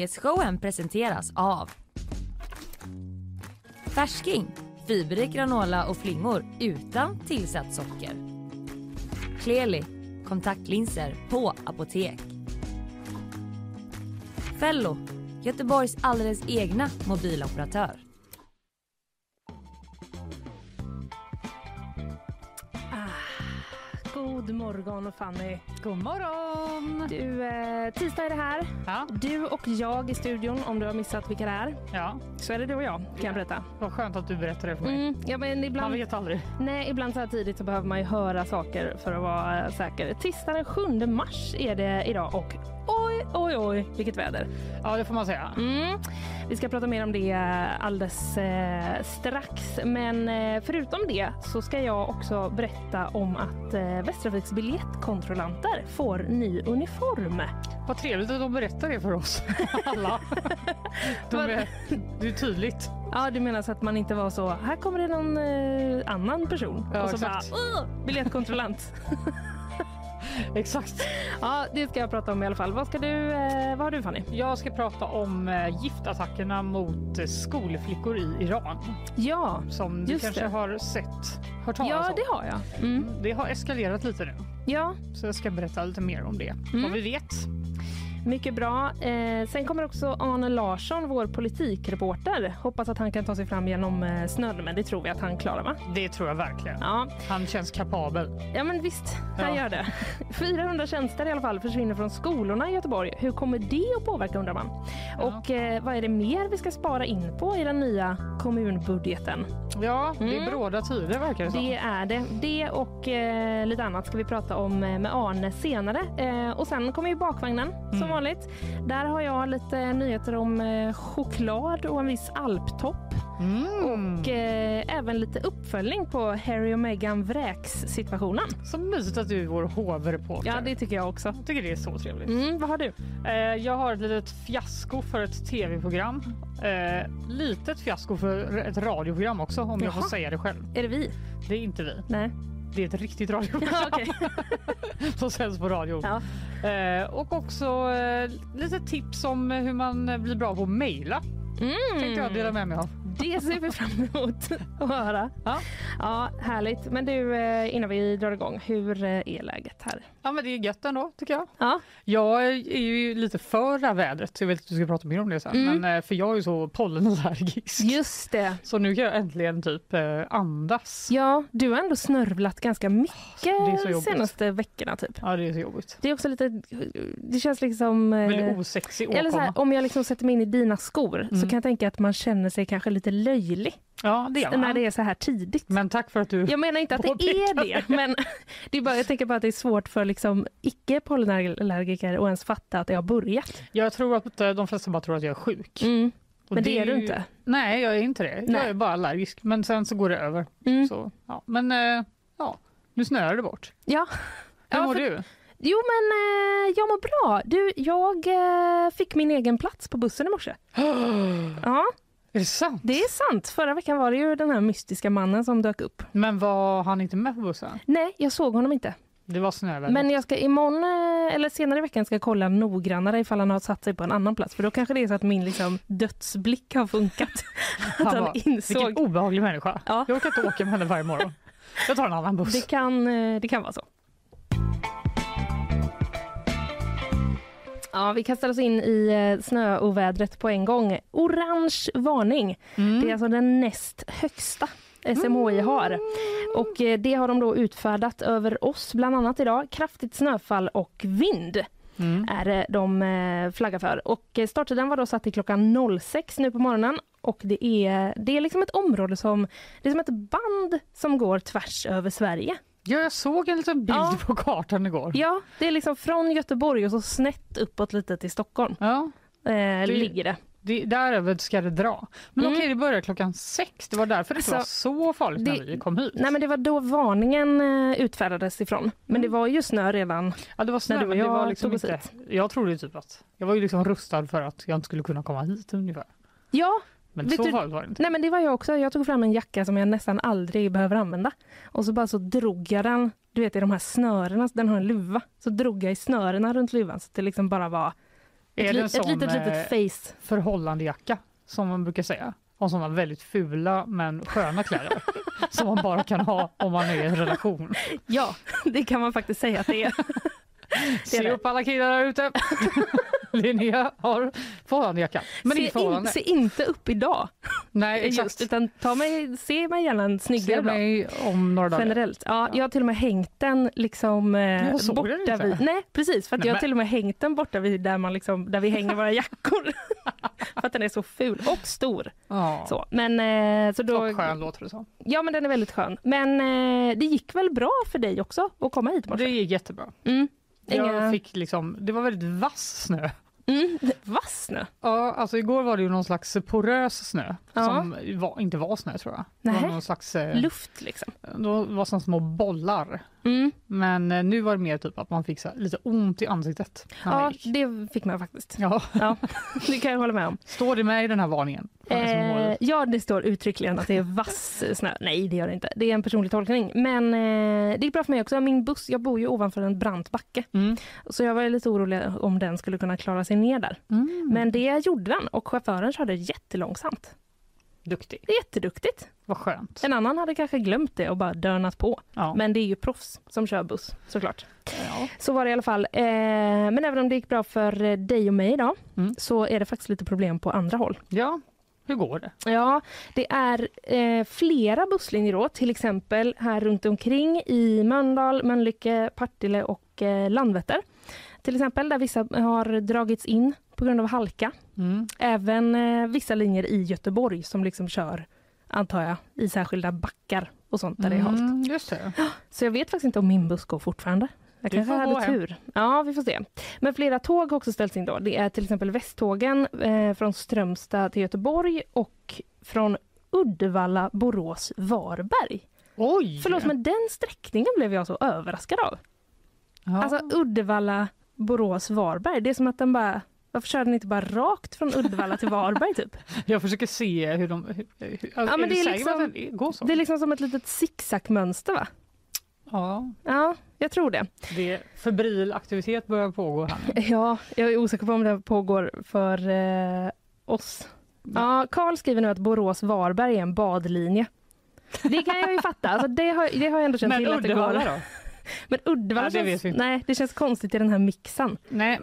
Nyhetsshowen presenteras av Färsking fiberrik granola och flingor utan tillsatt socker. Kleli kontaktlinser på apotek. Fello Göteborgs alldeles egna mobiloperatör. God morgon Fanny. God morgon! Du, eh, tisdag är det här. Ja, Du och jag i studion, om du har missat vilka det är, ja, så är det du och jag kan jag berätta. vad skönt att du berättar det för mig. Mm, ja, men Man ibland, vet aldrig. nej, ibland så här tidigt så behöver man ju höra saker för att vara eh, säker. Tisdag den 7 mars är det idag och oj, oj, oj, vilket väder. Ja, det får man säga. Mm. Vi ska prata mer om det alldeles eh, strax. Men eh, förutom det så ska jag också berätta om att eh, Västtrafiks biljettkontrollanter får ny uniform. Vad trevligt att de berättar det för oss alla. De är, det är tydligt. Ja, du menar så att man inte var så, här kommer det någon eh, annan person. Ja, och så exakt. bara, "Åh, biljettkontrollant. Exakt. ja, det ska jag prata om i alla fall. Vad, ska du, eh, vad har du Fanny? Jag ska prata om eh, giftattackerna mot eh, skolflickor i Iran Ja, som du Just kanske det. har sett, hört talas ja om. det har jag. Mm. Det har eskalerat lite nu, Ja, så jag ska berätta lite mer om det. Mm. Vad vi vet. mycket bra. Eh, sen kommer också Arne Larsson, vår politikreporter. Hoppas att han kan ta sig fram genom eh, snön, men det tror vi att han klarar va? Det tror jag verkligen. Ja, Han känns kapabel. ja men visst, han Ja. gör det. 400 tjänster i alla fall försvinner från skolorna i Göteborg. Hur kommer det att påverka undrar man? Ja. Och eh, vad är det mer vi ska spara in på i den nya kommunbudgeten? Ja, det är Mm. bråda tider verkar det som. Det är det. Det och eh, lite annat ska vi prata om eh, med Arne senare. Eh, och sen kommer ju bakvagnen som Mm. vanligt. Där har jag lite nyheter om eh, choklad och en viss alptopp. Mm. Och eh, även lite uppföljning på Harry och Meghan Vräks-situationen. Så mysigt att du är vår hovreporter. Ja, det tycker jag också. Jag tycker det är så trevligt. Mm, vad har du? Eh, jag har ett litet fiasko för ett tv-program. Eh, litet fiasko för ett radioprogram också om jag får Jaha. säga det själv. Är det vi? Det är inte vi. Nej. Det är ett riktigt radioprogram Ja, okej. som sänds på radio. Ja. Eh, och också eh, lite tips om hur man eh, blir bra på att mejla. Tänkte jag dela med mig av. Mm. Det ser vi fram emot att höra. Ja. ja, härligt. Men du, eh, innan vi drar igång, hur eh, är läget här? Ja men det är gött ändå tycker jag. Ja. Jag är ju lite för det här vädret. Jag vet att du ska prata mer om det sen. Mm. Men, eh, för jag är ju så pollenallergisk. Just det. Så nu kan jag äntligen typ eh, andas. Ja, du har ändå snörvlat ganska det är mycket så de jobbigt. senaste veckorna typ. Ja, det är så jobbigt. Det är också lite, det känns liksom... eh, Väldigt osexig åkomma. eller så här, om jag liksom sätter mig in i dina skor så Mm. kan jag tänka att man känner sig kanske lite löjlig ja, det är när man. det är så här tidigt. Men tack för att du... Jag menar inte att det är det, men det är bara, jag tänker bara att det är svårt för liksom icke-pollenallergiker att ens fatta att det har börjat. Jag tror att eh, de flesta bara tror att jag är sjuk. Mm. Och Mm. Men det är du ju- inte. Nej, jag är inte det. Jag Nej. är bara allergisk. Men sen så går det över. Mm. Så, ja. Men eh, ja, nu snöar det bort. Ja. Hur Ja, mår för- du? Jo, men eh, jag mår bra. Du, jag eh, fick min egen plats på bussen i morse. Ja, Är det sant? Det är sant. Förra veckan var det ju den här mystiska mannen som dök upp. Men var han inte med på bussen? Nej, jag såg honom inte. Det var snöväder. Men jag ska imorgon, eh, eller senare i veckan, ska jag kolla noggrannare ifall han har satt sig på en annan plats. För då kanske det är så att min liksom, dödsblick har funkat. Att han bara, insåg. Vilken obehaglig människa. Ja. Jag orkar inte åka med henne varje morgon. Jag tar en annan buss. Det kan, eh, det kan vara så. Ja, vi kastar oss in i eh, snöovädret på en gång. Orange varning. Mm. Det är alltså den näst högsta SMHI har. Och eh, det har de då utfärdat över oss bland annat idag. Kraftigt snöfall och vind Mm. är eh, de eh, flaggar för. Och eh, starttiden var då satt till klockan 06 nu på morgonen. Och det är, det är liksom ett område som, det är som ett band som går tvärs över Sverige. Ja, jag såg en liten bild Ja. på kartan igår. Ja, det är liksom från Göteborg och så snett uppåt lite till Stockholm Ja. eh, ligger det. Det, däröver ska det dra. Men Mm. Alltså, okej, det börjar klockan sex. Det var därför det inte var så farligt när det- vi kom hit. Nej men det var då varningen eh, utfärdades ifrån. Mm. Men det var ju snö redan. ja, det var snö, när du och men det jag var liksom tog oss inte, jag trodde ju typ att jag var ju liksom rustad för att jag inte skulle kunna komma hit ungefär. Ja, Men Vet så du- farligt var det inte. nej men det var jag också. Jag tog fram en jacka som jag nästan aldrig behöver använda. Och så bara så drog jag den, du vet i de här snörena, den har en luva. Så drog jag i snörena runt luvan så att det liksom bara var Är Ett, det li- en sån ett litet, litet eh, face. förhållandejacka som man brukar säga? Och sådana väldigt fula men sköna kläder som man bara kan ha om man är i en relation. Ja, det kan man faktiskt säga att det är. Se det. upp alla killar där ute! Linnea har förhållandejacka. Men inte se, in, förhållande. se inte upp idag, Nej, just, exakt. utan ta mig, se mig gärna en Se snyggare dag. mig om några dagar. Generellt. Ja, jag har till och med hängt den liksom, eh, Jag såg borta den inte. vid... Nej, precis. För att Nej, jag har men- till och med hängt den borta vid där, man liksom, där vi hänger våra jackor. för att den är så ful och stor. Ja. Så. Men, eh, så då, Och skön låter det som. Ja, men den är väldigt skön. Men eh, det gick väl bra för dig också att komma hit? Morse? Det är jättebra. Mm. Inga- Jag fick liksom, det var väldigt vass snö. Mm. Vass snö. Ja, alltså igår var det ju någon slags porös snö Ja. som var, inte var snö tror jag. Det Nähä. var någon slags, eh, Luft liksom. då var det som små bollar. Mm. Men eh, nu var det mer typ att man fick så här, lite ont i ansiktet. när man Ja, gick. det fick man faktiskt. ja. Ja, det kan jag hålla med om. Står det med i den här varningen? För det som håller Eh, ut. ja, det står uttryckligen att det är vass snö. Nej, det gör det inte. Det är en personlig tolkning. Men eh, det är bra för mig också. Min buss, jag bor ju ovanför en brant backe. Mm. Så jag var lite orolig om den skulle kunna klara sig ner där. Mm. Men det gjorde den och chauffören körde jättelångsamt. Duktig. Det är jätteduktigt. Vad skönt. En annan hade kanske glömt det och bara dörnat på. Ja. Men det är ju proffs som kör buss såklart. ja. Så var det i alla fall. Eh, men även om det gick bra för eh, dig och mig idag Mm. så är det faktiskt lite problem på andra håll. ja, hur går det? Ja, det är eh, flera busslinjer då, till exempel här runt omkring i Mölndal, Mölnlycke, Partille och eh, Landvetter. Till exempel där vissa har dragits in på grund av halka. Mm. Även eh, vissa linjer i Göteborg som liksom kör, antar jag, i särskilda backar och sånt där det är halt. Mm, just det. Så jag vet faktiskt inte om min buss går fortfarande. Jag Du kanske får gå hade hem. tur. Ja, vi får se. Men flera tåg har också ställts in då. Det är till exempel Västtågen eh, från Strömstad till Göteborg och från Uddevalla, Borås, Varberg. Oj! Förlåt, men den sträckningen blev jag så överraskad av. ja. Alltså Uddevalla, Borås, Varberg. Det är som att den bara... Varför kör den inte bara rakt från Uddevalla till Varberg typ? Jag försöker se hur de... Hur, hur, alltså, ja, men men det det är att det går så? Det är liksom som ett litet zigzagmönster va? Ja, Ja, jag tror det. det är febril aktivitet börjar pågå här nu. Ja, jag är osäker på om det pågår för eh, oss. Ja, Karl skriver nu att Borås-Varberg är en badlinje. Det kan jag ju fatta. Alltså det, har, det har jag ändå känt Men till att det Uddevalla går. då? Men Uddevalla Ja, det känns, vet vi inte. nej, det känns konstigt i den här mixen. Nej.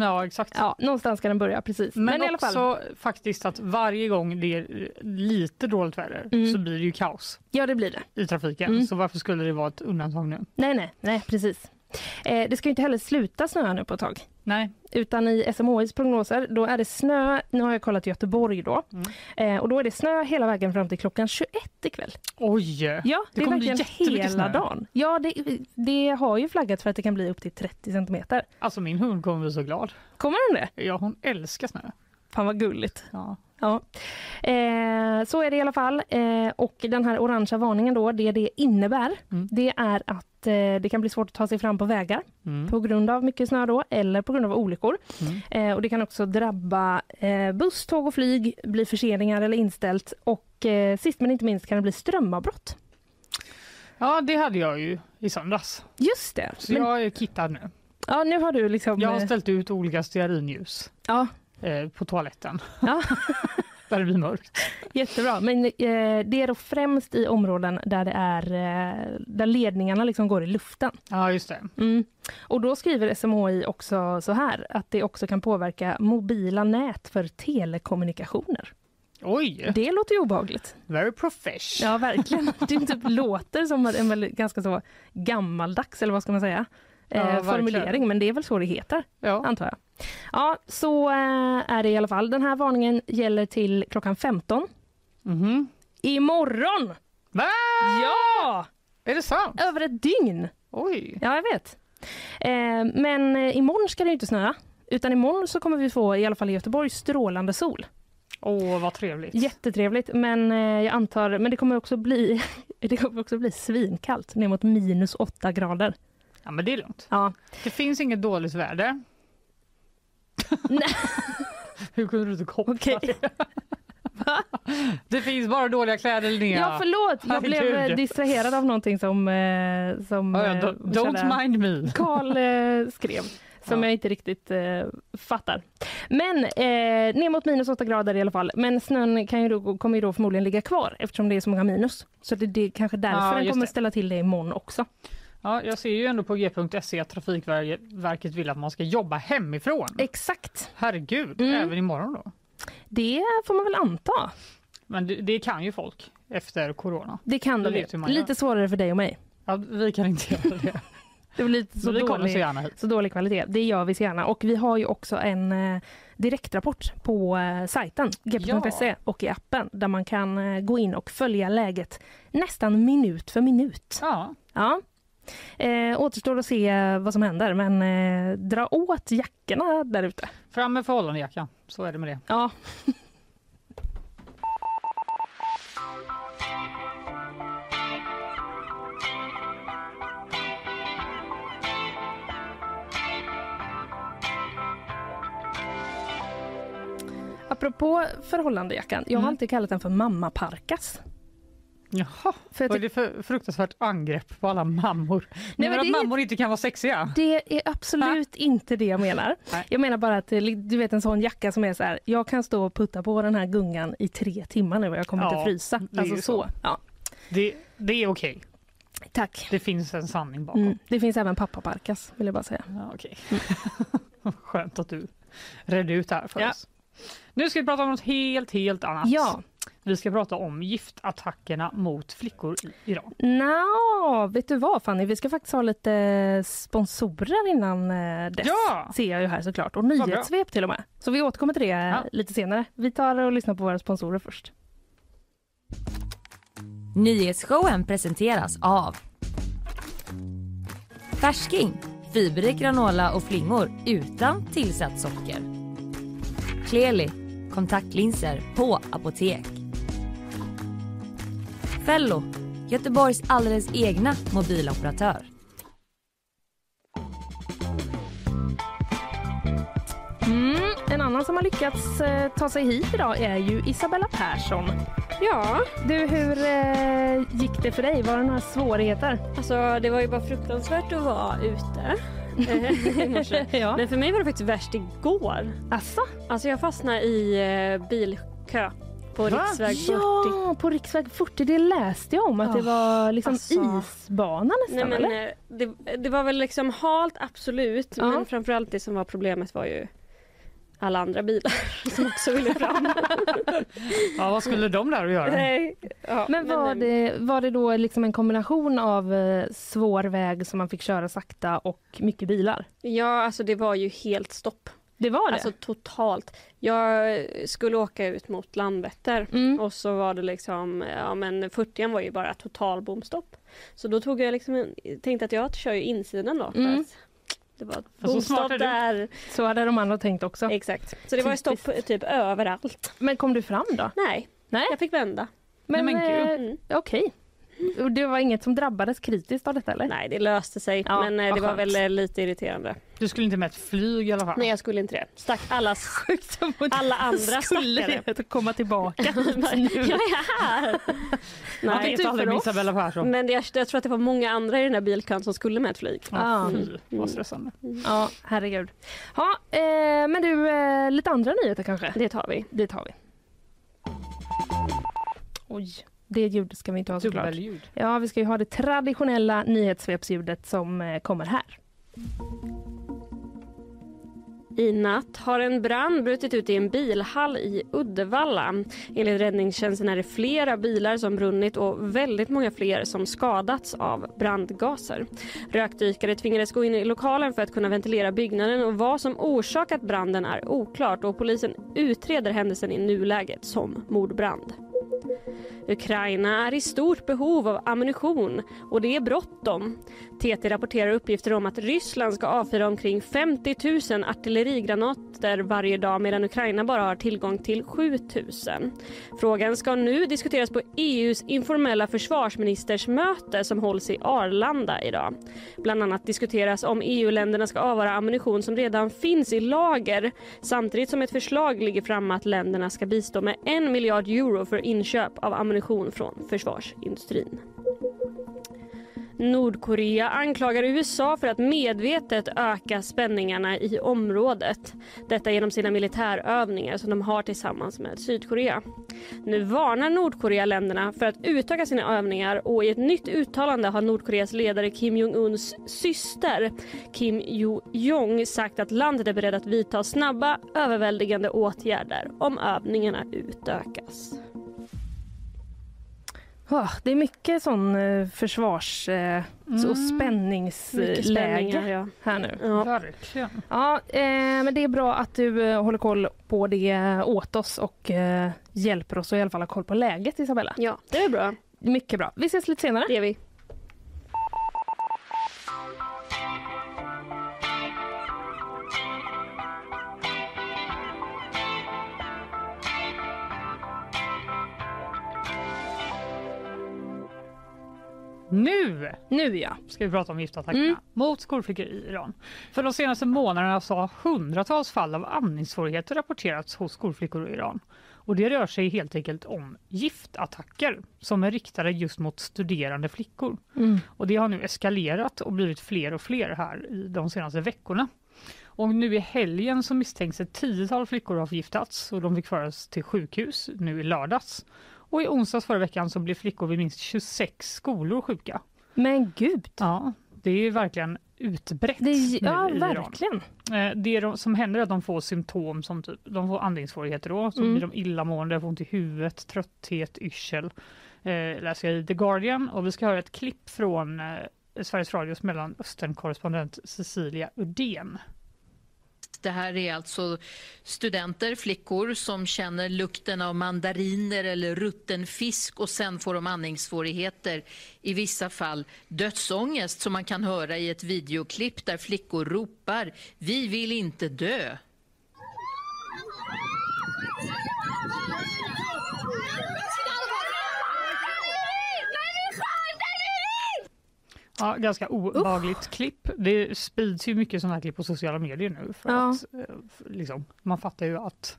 Ja, exakt. Ja, någonstans ska den börja, precis. Men, i alla också fall, faktiskt att varje gång det är lite dåligt väder Mm. så blir det ju kaos ja det blir det. i trafiken. Mm. Så varför skulle det vara ett undantag nu? Nej, nej, nej, precis. Eh, det ska ju inte heller sluta snöa nu på ett tag. Nej. Utan i SMHIs prognoser, då är det snö, nu har jag kollat Göteborg då, Mm. eh, och då är det snö hela vägen fram till klockan 21 ikväll. Oj! Ja, det, Det är kommer bli verkligen hela jättemycket snö. dagen. Ja, det, det har ju flaggats för att det kan bli upp till 30 centimeter. Alltså min hund kommer bli så glad. Kommer den det? Ja, hon älskar snö. Fan vad gulligt. Ja. Ja. Eh, så är det i alla fall. Eh, och den här orangea varningen då, det det innebär, Mm. det är att eh, det kan bli svårt att ta sig fram på vägar Mm. på grund av mycket snö då, eller på grund av olyckor. Eh, och det kan också drabba eh, buss, tåg och flyg, bli förseningar eller inställt. Och eh, sist men inte minst kan det bli strömavbrott. ja, det hade jag ju i söndags. Just det. Så Men, jag är kittad nu. ja, nu har du liksom... Jag har eh, ställt ut olika stearinljus ja, eh, på toaletten. Ja. Där det blir mörkt. Jättebra, men eh, det är då främst i områden där, det är, eh, där ledningarna liksom går i luften. Mm. Ja, just det. Och då skriver SMHI också så här, att det också kan påverka mobila nät för telekommunikationer. Oj! Det låter ju obehagligt. Very profesh. Ja, verkligen. Du typ låter som en väldigt, ganska så gammaldags, eller vad ska man säga, Ja, eh, verkligen. formulering, men det är väl så det heter. Ja. antar jag. Ja, så eh, är det i alla fall. Den här varningen gäller till klockan 15. Mhm. Imorgon! Va? Ja! Är det sant? Över ett dygn! Oj. Ja, jag vet. Eh, men eh, imorgon ska det ju inte snöa. Utan imorgon så kommer vi få, i alla fall i Göteborg, strålande sol. Åh, vad trevligt. Jättetrevligt, men eh, jag antar, men det kommer också bli, det kommer också bli svinkallt, ner mot minus åtta grader. Ja, men det är lugnt. Ja, Det finns inget dåligt väder. Nej. Hur kunde du inte koppla Okej. det? det finns bara dåliga kläder, ja. Linnea. förlåt, jag blev eh, Herregud. distraherad av någonting som, eh, som Ja, ja, eh, don't- vår kära don't mind me. Karl eh, skrev. som jag inte riktigt eh, fattar. Men eh, ner mot minus 8 grader i alla fall. Men snön kan ju då, kommer ju då förmodligen ligga kvar eftersom det är så många minus. Så det, det är kanske därför Ja, den just kommer det. ställa till det Mm. imorgon också. Ja, jag ser ju ändå på g.se att Trafikverket vill att man ska jobba hemifrån. Exakt. Herregud, Mm. även imorgon då. Det får man väl anta. Men det, det kan ju folk efter corona. Det kan Jag de ju. vet hur man gör. Lite svårare för dig och mig. Ja, vi kan inte göra det. Det blir lite Så så vi kommer dålig, så gärna hit. så dålig kvalitet. Det gör vi så gärna. Och vi har ju också en eh, direktrapport på eh, sajten gp.se och i appen där man kan eh, gå in och följa läget nästan minut för minut. Ja, Ja. Eh, återstår att se eh, vad som händer, men eh, dra åt jackorna där ute. fram med förhållandejackan. Så är det med det. Ja. Apropå förhållandejackan, jag har Mm. alltid kallat den för mammaparkas. Jaha, För jag vad är det för fruktansvärt angrepp på alla mammor? Ni men menar att det är- mammor inte kan vara sexiga? Det är absolut inte det jag menar. Nej. Jag menar bara att eh, du vet en sån jacka som är så här, jag kan stå och putta på den här gungan i tre timmar nu och jag kommer Ja, inte frysa. det är Alltså ju så. så. Ja, Det, det är okej. tack. Det finns en sanning bakom. Mm. Det finns även pappaparkas vill jag bara säga. Ja, okej. Skönt att du redde ut det här för Ja. oss. Nu ska vi prata om något helt, helt annat. Ja, Vi ska prata om giftattackerna mot flickor i Iran. nå, vet du vad Fanny, vi ska faktiskt ha lite sponsorer innan eh, dess. Ja! Ser jag ju här såklart. Och bra. nyhetssvep till och med. Så vi återkommer till det eh, Ja. lite senare. Vi tar och lyssnar på våra sponsorer först. Nyhetsshowen presenteras av Färsking, fiberrik granola och flingor utan tillsatt socker. Kleli, kontaktlinser på apotek. Fello, Göteborgs alldeles egna mobiloperatör. Mm. En annan som har lyckats eh, ta sig hit idag är ju Isabella Persson. Ja, Du, hur eh, gick det för dig? Var det några svårigheter? alltså det var ju bara fruktansvärt att vara ute eh, i morse. ja. Men för mig var det faktiskt värst igår. Asså? Alltså jag fastnade i eh, bilkö Va? på riksväg 40. Ja, på riksväg 40. Det läste jag om att det var liksom alltså. isbana Nej, nästan, men, eller? eh, det, det var väl liksom halt absolut Ja. men framförallt det som var problemet var ju alla andra bilar som också ville fram. Ja, vad skulle de där att göra? Nej, ja, Men var, eh, det, var det då liksom en kombination av eh, svår väg som man fick köra sakta och mycket bilar? Ja, alltså det var ju helt stopp. Det var det? Alltså totalt. Jag skulle åka ut mot Landvetter mm. Och så var det liksom, ja men 40 var ju bara total bomstopp. Så då tog jag liksom, en- tänkte att jag kör ju insidan då. för Mm. att Det var ett Ja, så smart bomstopp är du. där. Så hade de andra tänkt också. Exakt. Så det var ju stopp Typiskt. typ överallt. Men kom du fram då? Nej, Nej. jag fick vända. Nej, men eh, gud. Mm. Okej. Och Det var inget som drabbades kritiskt av detta eller? Nej, det löste sig. Ja, men eh, vad det var skönt. väl eh, lite irriterande. Du skulle inte med ett flyg i alla fall? Nej, jag skulle inte det. Stack allas, Sjukt om att alla andra skulle stackare. det komma tillbaka Bara, nu. jag är här! Man Nej. vet aldrig med oss. Isabella Persson. Men det, jag, jag tror att det var många andra i den här bilkön som skulle med ett flyg. Ja, Ah. fy, vad stressande. Ja, herregud. Ja, eh, men du, eh, lite andra nyheter kanske? Det tar vi. Det tar vi. Oj, det ljudet ska vi inte ha såklart. Dubbelljud. Ja, vi ska ju ha det traditionella nyhetssvepsljudet som eh, kommer här. I natt har en brand brutit ut i en bilhall i Uddevalla. Enligt räddningstjänsten är det flera bilar som brunnit och väldigt många fler som skadats av brandgaser. Rökdykare tvingades gå in i lokalen för att kunna ventilera byggnaden och vad som orsakat branden är oklart och polisen utreder händelsen i nuläget som mordbrand. Ukraina är i stort behov av ammunition och det är bråttom. TT rapporterar uppgifter om att Ryssland ska avfyra omkring 50 000 artillerigranater varje dag medan Ukraina bara har tillgång till 7 000. Frågan ska nu diskuteras på E EUs informella försvarsministersmöte som hålls i Arlanda idag. Bland annat diskuteras om EU-länderna ska avvara ammunition som redan finns i lager samtidigt som ett förslag ligger framme att länderna ska bistå med 1 miljard euro för inköp av ammunition från försvarsindustrin. Nordkorea anklagar USA för att medvetet öka spänningarna i området. Detta genom sina militärövningar som de har tillsammans med Sydkorea. Nu varnar Nordkorea länderna för att utöka sina övningar och i ett nytt uttalande har Nordkoreas ledare Kim Jong-Uns syster Kim Jo-Jong sagt att landet är beredd att vidta snabba, överväldigande åtgärder om övningarna utökas. Ah, det är mycket sån eh, försvars eh, och Mycket spänningar, spänningsläge ja. här nu. Ja. Verkligen. Ja, eh, men det är bra att du eh, håller koll på det åt oss och eh, hjälper oss att i alla fall ha koll på läget Isabella. ja, det är bra. Mycket bra. Vi ses lite senare. Det är vi. Nu Nu ja. ska vi prata om giftattackerna mot skolflickor i Iran. För de senaste månaderna så har hundratals fall av andningssvårigheter rapporterats hos skolflickor i Iran. Och det rör sig helt enkelt om giftattacker som är riktade just mot studerande flickor. Och det har nu eskalerat och blivit fler och fler här i de senaste veckorna. Och nu i helgen så misstänks ett tiotal flickor ha förgiftats och de fick föras till sjukhus nu i lördags. Och i onsdags förra veckan så blev flickor vid minst 26 skolor sjuka. Men gud. Ja, det är ju verkligen utbrett Det är, ja, nu i Iran. verkligen. Eh, Det de, som händer är att de får symptom som typ, de får andningssvårigheter då, så Mm. blir de illamående, får ont i huvudet, trötthet, yrsel. Eh, läser jag i The Guardian och vi ska höra ett klipp från eh, Sveriges Radios mellanösternkorrespondent Cecilia Uddén. Det här är alltså studenter, flickor, som känner lukten av mandariner eller rutten fisk och sen får de andningssvårigheter. I vissa fall dödsångest som man kan höra i ett videoklipp där flickor ropar ”Vi vill inte dö”. Ja, ganska obehagligt klipp. Det sprids ju mycket sådana här klipp på sociala medier nu. För Ja. att, eh, f- liksom, man fattar ju att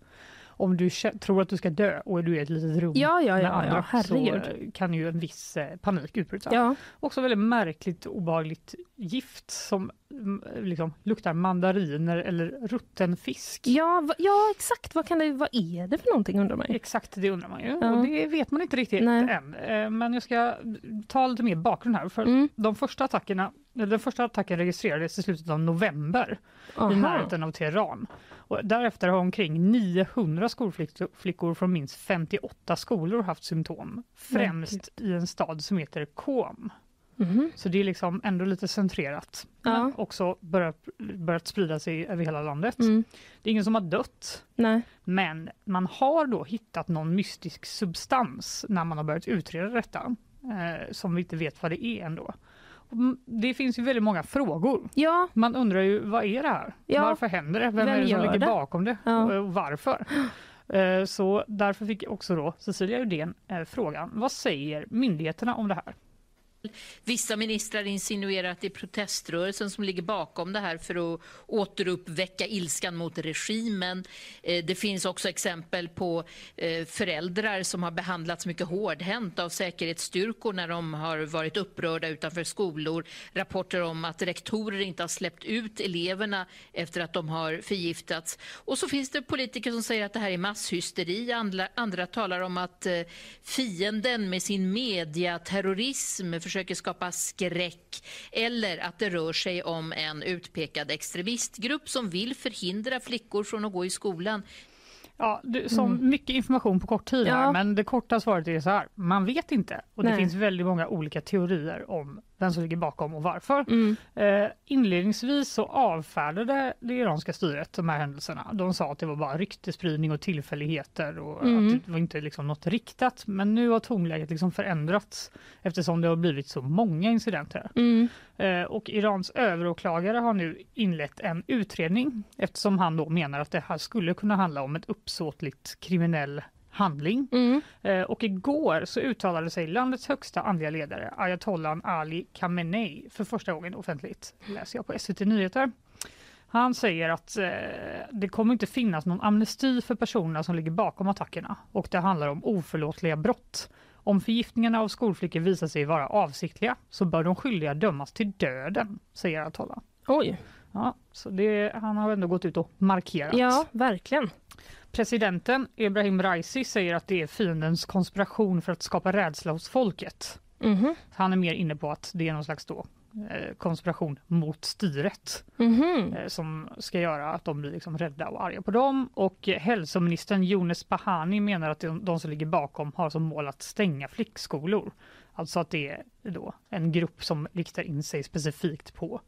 om du kä- tror att du ska dö och du är i ett litet rum Ja, ja, med ja, ja, andra herregud. så eh, kan ju en viss eh, panik utbryta. Ja. Också väldigt märkligt obehagligt gift som mm, liksom, luktar mandariner eller rutten fisk. Ja, va, ja, exakt. Vad, kan det, vad är det för någonting undrar man ju. Exakt, det undrar man ju. Ja. Och det vet man inte riktigt Nej. än. Eh, Men jag ska ta lite mer bakgrund här. För Mm. de första attackerna, eller den första attacken registrerades i slutet av november i Aha. närheten av Teheran. Och därefter har omkring 900 skolflickor från minst 58 skolor haft symptom. Främst i en stad som heter Qom. Mhm. Så det är liksom ändå lite centrerat. Ja. Men också börjat, börjat sprida sig över hela landet. Mm. Det är ingen som har dött. Nej. Men man har då hittat någon mystisk substans när man har börjat utreda detta, eh, som vi inte vet vad det är ändå. Och m- Det finns ju väldigt många frågor. Ja, Man undrar ju vad är det här? Ja. Varför händer det? Vem, Vem är det som gör ligger det? bakom det? Ja. Och varför? Eh, Så därför fick också då Cecilia Uddén eh, frågan, vad säger myndigheterna om det här? Vissa ministrar insinuerar att det är proteströrelsen som ligger bakom det här för att återuppväcka ilskan mot regimen. Eh, Det finns också exempel på eh, föräldrar som har behandlats mycket hårdhänt av säkerhetsstyrkor när de har varit upprörda utanför skolor. Rapporter om att rektorer inte har släppt ut eleverna efter att de har förgiftats. Och så finns det politiker som säger att det här är masshysteri. Andra, andra talar om att eh, fienden med sin mediaterrorism försöker skapa skräck eller att det rör sig om en utpekad extremistgrupp som vill förhindra flickor från att gå i skolan. Ja, du, som Mycket information på kort tid, Mm. Ja. här, men det korta svaret är så här. Man vet inte. Och Det Nej. finns väldigt många olika teorier om vem som ligger bakom och varför. Eh, inledningsvis så avfärdade det iranska styret de här händelserna. De sa att det var bara ryktespridning och tillfälligheter och att det var inte liksom något riktat. Men nu har tonläget liksom förändrats eftersom det har blivit så många incidenter. Eh, Och Irans överåklagare har nu inlett en utredning eftersom han då menar att det här skulle kunna handla om ett uppsåtligt kriminell handling. Eh, Och igår så uttalade sig landets högsta andliga ledare ayatollan Ali Khamenei för första gången offentligt, läser jag på SVT Nyheter. Han säger att eh, det kommer inte finnas någon amnesti för personerna som ligger bakom attackerna och det handlar om oförlåtliga brott. Om förgiftningarna av skolflickor visar sig vara avsiktliga så bör de skyldiga dömas till döden, säger Atolla. Oj. Ja, så det, han har ändå gått ut och markerat. Ja, verkligen. Presidenten Ebrahim Raisi säger att det är fiendens konspiration för att skapa rädsla hos folket. Mhm. Han är mer inne på att det är någon slags då, eh, konspiration mot styret Mhm. eh, som ska göra att de blir liksom rädda och arga på dem. Och eh, hälsoministern Jonas Bahani menar att de, de som ligger bakom har som mål att stänga flickskolor. Alltså att det är då en grupp som riktar in sig specifikt på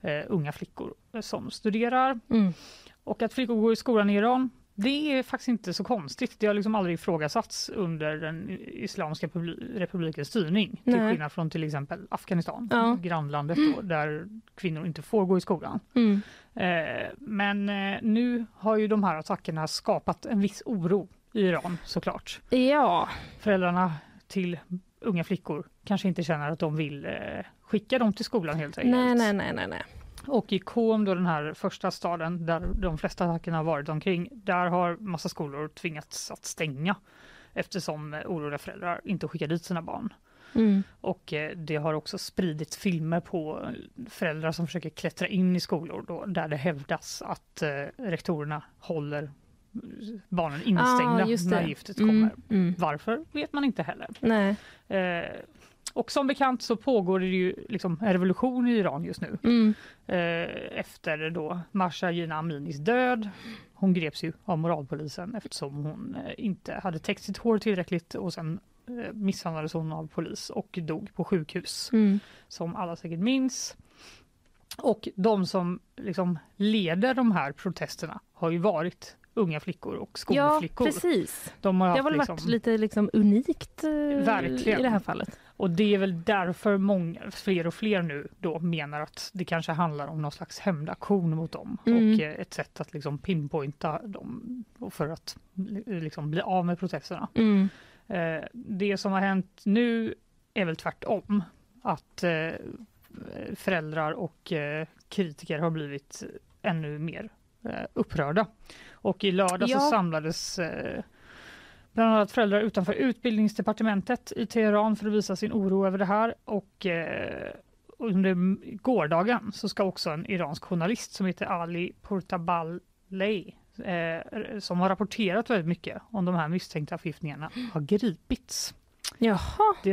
eh, unga flickor som studerar. Mm. Och att flickor går i skolan i Iran det är faktiskt inte så konstigt. Det har liksom aldrig ifrågasatts under den islamiska publi- republikens styrning. Till Nej. skillnad från till exempel Afghanistan, Ja. grannlandet då, där kvinnor inte får gå i skolan. Mm. Eh, men eh, nu har ju de här attackerna skapat en viss oro i Iran såklart. Ja. Föräldrarna till unga flickor kanske inte känner att de vill eh, skicka dem till skolan helt enkelt. Nej, nej, nej, nej, nej. Och i Qom, då den här första staden där de flesta attackerna har varit omkring, där har massa skolor tvingats att stänga eftersom eh, oroliga föräldrar inte skickar dit sina barn. Mm. Och eh, det har också spridits filmer på föräldrar som försöker klättra in i skolor då, där det hävdas att eh, rektorerna håller eh, barnen instängda Ah, just det. när giftet kommer. Mm. Mm. Varför vet man inte heller. Nej. Eh, och som bekant så pågår det ju liksom en revolution i Iran just nu Mm. eh, efter då Marsha Jina Aminis död. Hon greps ju av moralpolisen eftersom hon eh, inte hade täckt sitt hår tillräckligt och sen eh, misshandlades hon av polis och dog på sjukhus Mm. som alla säkert minns. Och de som liksom leder de här protesterna har ju varit unga flickor och Ja, skolflickor. precis. de har Det haft har väl liksom, varit lite liksom unikt eh, Verkligen. i det här fallet. Och det är väl därför många, fler och fler nu då menar att det kanske handlar om någon slags hämndaktion mot dem Mm. och eh, ett sätt att liksom pinpointa dem och för att li- liksom bli av med protesterna. Mm. Eh, det som har hänt nu är väl tvärtom. Att eh, föräldrar och eh, kritiker har blivit ännu mer eh, upprörda. Och i lördag Ja. så samlades eh, bland annat föräldrar utanför utbildningsdepartementet i Teheran för att visa sin oro över det här. Och eh, under m- gårdagen så ska också en iransk journalist som heter Ali Portabalei eh, som har rapporterat väldigt mycket om de här misstänkta förgiftningarna har gripits. Jaha, Det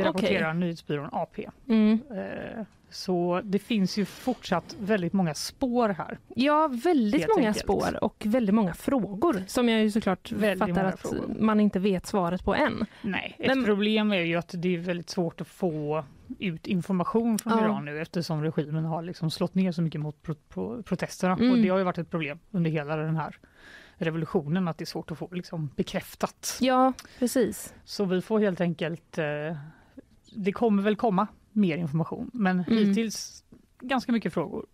okej. rapporterar nyhetsbyrån AP. Mm. Eh, Så det finns ju fortsatt väldigt många spår här. Ja, väldigt Helt många enkelt. spår och väldigt många frågor som jag ju såklart Väldigt fattar många att frågor. man inte vet svaret på än. Nej, ett Men- problem är ju att det är väldigt svårt att få ut information från Ja. Iran nu eftersom regimen har liksom slått ner så mycket mot pro- pro- protesterna. Mm. Och det har ju varit ett problem under hela den här revolutionen att det är svårt att få liksom bekräftat. Ja, precis. Så vi får helt enkelt... Eh, det kommer väl komma mer information, men Mm. hittills ganska mycket frågor.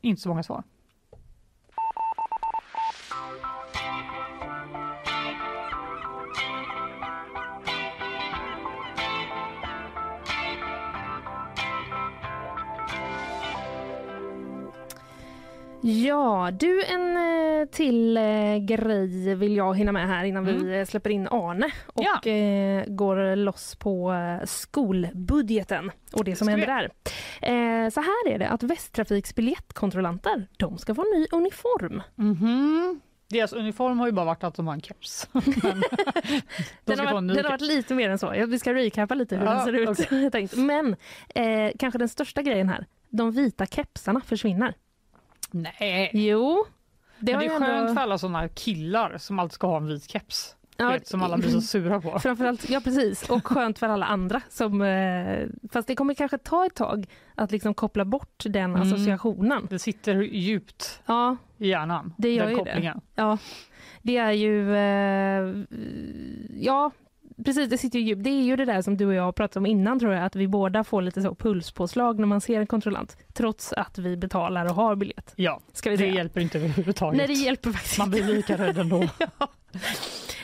Inte så många svar. Ja, du en eh, till eh, grej vill jag hinna med här innan vi eh, släpper in Arne och Mm. Ja. eh, går loss på eh, skolbudgeten och det som Ska händer där. Eh, så här är det att Västtrafiks biljettkontrollanter, de ska få ny uniform. Mm-hmm. Mhm. Deras uniform har ju bara varit att de har en keps. Men de Den ska har, få varit, en ny den har keps. varit lite mer än så. Ja, Vi ska recapa lite hur Ja, den ser ut. har jag tänkt. Men eh, kanske den största grejen här. De vita kepsarna försvinner. Nej. Jo. Det, har det är ju skönt för alla sådana killar som alltid ska ha en vit keps. du ja, Vet, som alla blir så sura på. Framförallt, ja precis, och skönt för alla andra. Som, eh, fast det kommer kanske ta ett tag att liksom koppla bort den Mm. associationen. Det sitter djupt Ja, i hjärnan, Det gör den ju det. kopplingen. ja. Det är ju... Eh, ja, precis, det sitter ju djupt. Det är ju det där som du och jag har pratat om innan tror jag, att vi båda får lite så pulspåslag när man ser en kontrollant, trots att vi betalar och har biljett. Ja, Ska vi det säga. hjälper inte överhuvudtaget. Nej, det hjälper faktiskt Man inte. blir lika rädd ändå.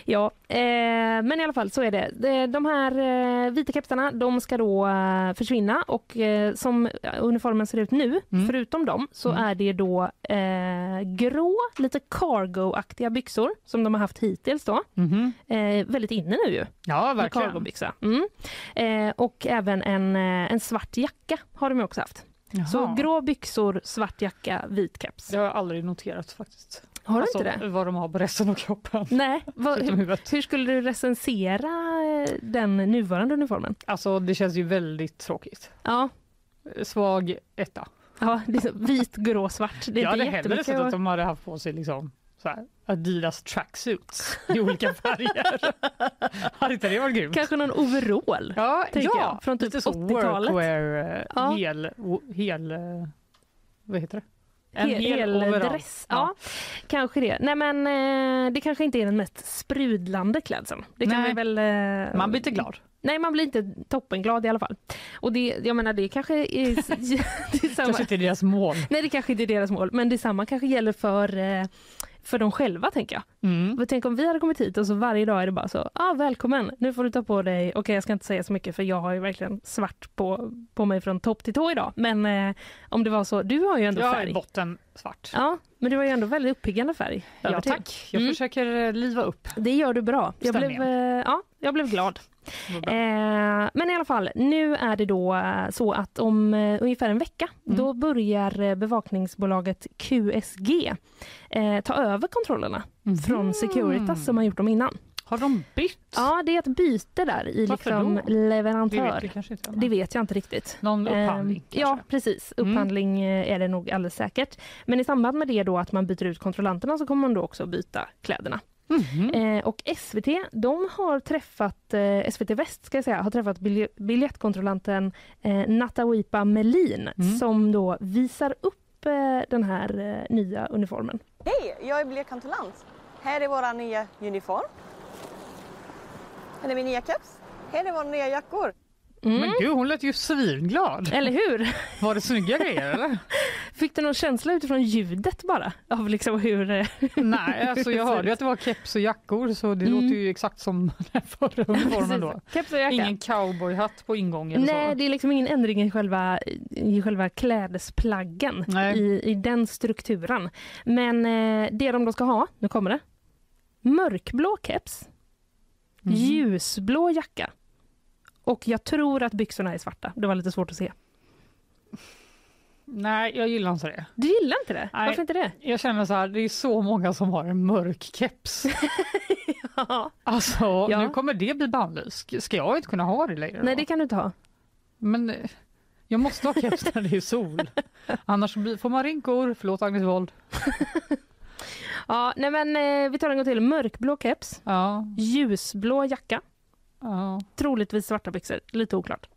Ja, eh, men i alla fall så är det. De- De här eh, vita kepsarna de ska då eh, försvinna och eh, som uniformen ser ut nu, Mm. förutom dem, så är det då eh, grå, lite cargo-aktiga byxor som de har haft hittills då. Mhm. Eh, väldigt inne nu ju. Ja, med verkligen. Cargobyxa. Mm. Eh, och även en, eh, en svart jacka har de ju också haft. Så Jaha. grå byxor, svart jacka, vit keps. Det har jag aldrig noterat faktiskt. Har du alltså, inte det? vad de har på resten av kroppen. Nej, vad, Förutom hur, huvudet. hur skulle du recensera eh, den nuvarande uniformen? Alltså det känns ju väldigt tråkigt. Ja, Svag etta. ja det är så, vit, grå, svart. Det är Jag hade inte hellre jättemycket. sett att att- de hade haft på sig liksom så här, Adidas tracksuits i olika färger. hade inte det varit grymt? Kanske någon overall. Ja, tänker ja. jag, från typ lite så 80-talet. workwear, eh, Ja. hel, o- hel, eh, vad heter det? En Hel- hel, overall. Heldress. Ja, kanske det. Nej men eh, det kanske inte är den mest sprudlande klädseln. Det kan Nej. vi väl... eh, Man blir inte glad. Nej, man blir inte toppenglad i alla fall. Och det, jag menar, det kanske är, det är samma. Kanske inte deras mål. Nej, det kanske inte är deras mål, men detsamma kanske gäller för, eh, för dem själva, tänker jag. Mm. Men Tänk om vi hade kommit hit och så varje dag är det bara så, ah, välkommen, nu får du ta på dig, okej jag ska inte säga så mycket för jag har ju verkligen svart på, på mig från topp till tå idag, men eh, om det var så, du har ju ändå Jag är färg. i botten svart. Ja, men du har ju ändå väldigt uppiggande färg. över Ja, till. tack. Jag Mm. försöker eh, liva upp. Det gör du bra. Jag Stämmer blev, eh, ja, jag blev glad. Vad bra. Eh, men i alla fall, nu är det då eh, så att om eh, ungefär en vecka Mm. då börjar eh, bevakningsbolaget QSG eh, ta över kontrollerna Mm. från Securitas som har gjort dem innan. Har de bytt? Ja, det är ett byte där i Varför liksom då? Det leverantör. vet vi kanske inte. Det vet jag inte riktigt. Någon upphandling Ehm, kanske? Ja, Mm. precis. Upphandling eh, är det nog alldeles säkert. Men i samband med det då att man byter ut kontrollanterna så kommer man då också byta kläderna. Mhm. Eh, och SVT, de har träffat, eh, SVT Väst ska jag säga, har träffat bilje- biljettkontrollanten eh, Natawipa Melin Mm. som då visar upp eh, den här eh, nya uniformen. Hej, jag är biljettkontrollant. Här är vår nya uniform. Här är min nya keps. Här är våra nya jackor. Men gud, hon lät ju svinglad. Eller hur? Var det snygga grejer eller? Fick du någon känsla utifrån ljudet bara? Av liksom hur... eh, Nej, alltså jag hörde ju att det var keps och jackor så det låter ju exakt som den förra uniformen då. Mm. precis. Keps och jacka. Ingen cowboyhatt på ingången Nej, så. det är liksom ingen ändring i själva, i själva klädesplaggen, Nej. i, i den strukturen. Men eh, det de då ska ha, nu kommer det, mörkblå keps, Mhm. Mm. ljusblå jacka och jag tror att byxorna är svarta. Det var lite svårt att se. Nej, jag gillar inte det. Du gillar inte det? Nej. Varför inte det? Jag känner så här, det är så många som har en mörk keps. Alltså, Ja. nu kommer det bli bannlyst. Ska jag inte kunna ha det längre? Nej, då? det kan du inte ha. Men eh, jag måste ha keps när det är sol. Annars blir- får man rinkor. Förlåt Agnes Wold. Ja, nej men eh, vi tar en gång till. Mörkblå keps, Ja, ljusblå jacka, ja. troligtvis svarta byxor. Lite oklart.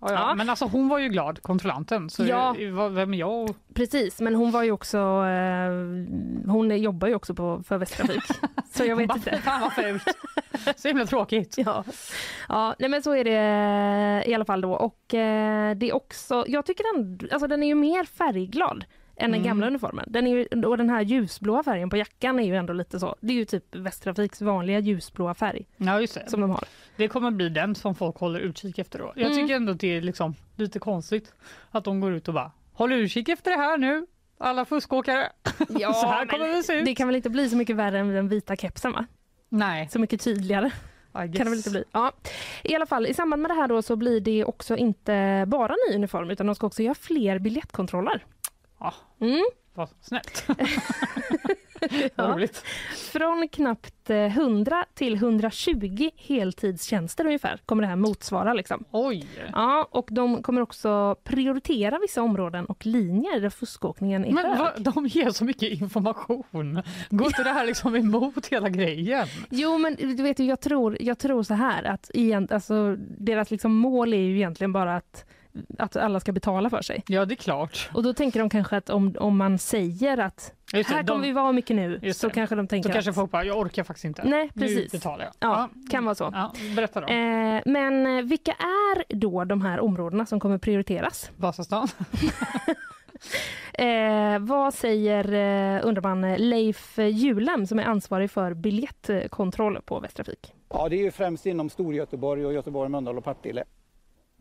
Ja, Ja. ja. Men alltså hon var ju glad, kontrollanten. Så Ja. det- vad- vem är jag? och- Precis, men hon var ju också... Eh, hon jobbar ju också på, för Västtrafik. så jag Hon vet bara, inte. "Fy Fan vad fult. Så himla tråkigt. Ja, ja nej men så är det i alla fall då. Och eh, det är också... Jag tycker den, alltså den är ju mer färgglad än den gamla uniformen. Den är ju, och den här ljusblåa färgen på jackan är ju ändå lite så. Det är ju typ Västtrafiks vanliga ljusblåa färg Ja, just det. som de har. Det kommer bli den som folk håller utkik efter då. Mm. Jag tycker ändå att det är liksom lite konstigt att de går ut och bara håll utkik efter det här nu. Alla fuskåkare. Ja, så här kommer vi se ut. Det kan väl inte bli så mycket värre än den vita kepsen va? Nej. Så mycket tydligare. I guess. kan det väl inte bli. Ja. I alla fall, i samband med det här då så blir det också inte bara ny uniform utan de ska också göra fler biljettkontroller. Ja, Mm. vad snällt. Vad roligt. Från knappt eh, 100 till 120 heltidstjänster ungefär kommer det här motsvara. Liksom. Oj. Ja, och de kommer också prioritera vissa områden och linjer där fuskåkningen är Men hög. vad, de ger så mycket information. Går inte det här liksom emot hela grejen? Jo, men du vet ju, jag tror, jag tror så här att igen, alltså, deras liksom mål är ju egentligen bara att, att alla ska betala för sig. Ja, det är klart. Och då tänker de kanske att om, om man säger att Just det, här kommer de- vi vara mycket nu, Just så det. kanske de tänker Då kanske att, folk bara, jag orkar faktiskt inte. Nej, precis. Nu betalar jag. ja, kan vara så. Ja, berätta då. Eh, men eh, vilka är då de här områdena som kommer prioriteras? Vasastan. Eh, vad säger, eh, undrar man, Leif Julem som är ansvarig för biljettkontroll på Västtrafik? Ja, det är ju främst inom Storgöteborg och Göteborg, Mölndal och Partille.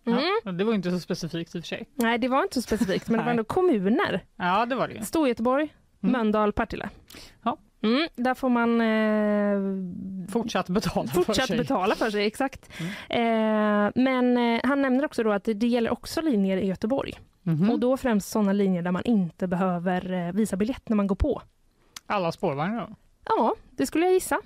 Mm. Ja, det var inte så specifikt i och för sig. Nej, det var inte så specifikt, men det var Nej. ändå kommuner. Ja, det var det ju. Storgöteborg, Mm. Mölndal, Partille. Ja. Mm, där får man eh, Fortsatt betala för fortsatt sig. Mm. betala för sig. Exakt. Eh, men eh, han nämner också då att det, det gäller också linjer i Göteborg. Mhm. Och då främst sådana linjer där man inte behöver eh, visa biljett när man går på. Alla spårvagnar då? Ja, det skulle jag gissa.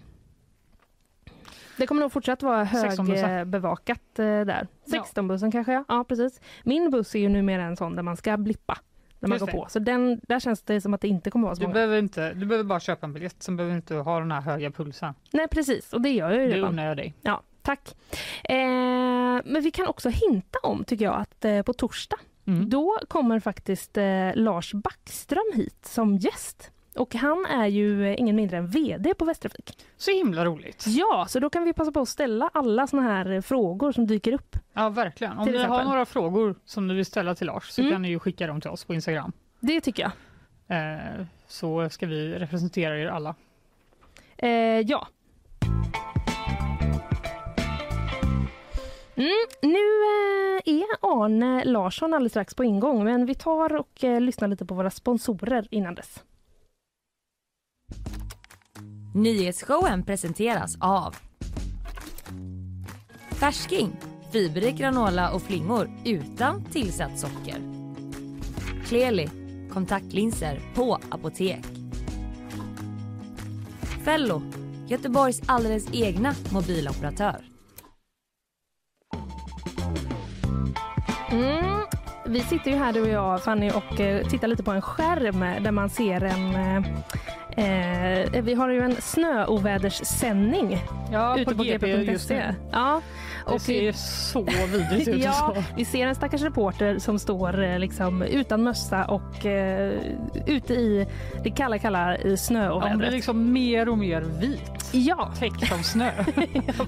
Det kommer nog fortsatt vara 16 bussar. högbevakat eh, där. Ja. 16-bussen kanske, ja. ja precis. Min buss är ju numera en sån där man ska blippa när man Just går det. på. Så den, där känns det som att det inte kommer vara så Du många. behöver, inte, du behöver bara köpa en biljett, sen behöver du inte ha den här höga pulsen. Nej precis, och det gör jag ju Det redan. unnar jag dig. Ja, tack. Eh, men vi kan också hinta om, tycker jag, att eh, på torsdag Mm. då kommer faktiskt eh, Lars Backström hit som gäst. Och han är ju eh, ingen mindre än VD på Västtrafik. Så himla roligt! Ja, så då kan vi passa på att ställa alla såna här eh, frågor som dyker upp. Ja, verkligen. Om Till ni har exempel. några frågor som ni vill ställa till Lars så Mm. kan ni ju skicka dem till oss på Instagram. Det tycker jag. Eh, så ska vi representera er alla. Eh, ja. Mm, nu eh, är Arne Larsson alldeles strax på ingång, men vi tar och eh, lyssnar lite på våra sponsorer innan dess. Nyhetsshowen presenteras av Färsking, fiberrik granola och flingor utan tillsatt socker. Kleli, kontaktlinser på apotek. Fello, Göteborgs alldeles egna mobiloperatör. Mm. Vi sitter ju här du och jag Fanny och eh, tittar lite på en skärm eh, där man ser en eh, eh, vi har ju en snöoväderssändning Ja, ute på gp.se. E. Ja, E. Det och ser ju så vidrigt ut. ja, alltså. vi ser en stackars reporter som står eh, liksom utan mössa och eh, ute i det kalla, kalla eh, Han blir snöovädret. liksom mer och mer vit, Ja, täckt av snö.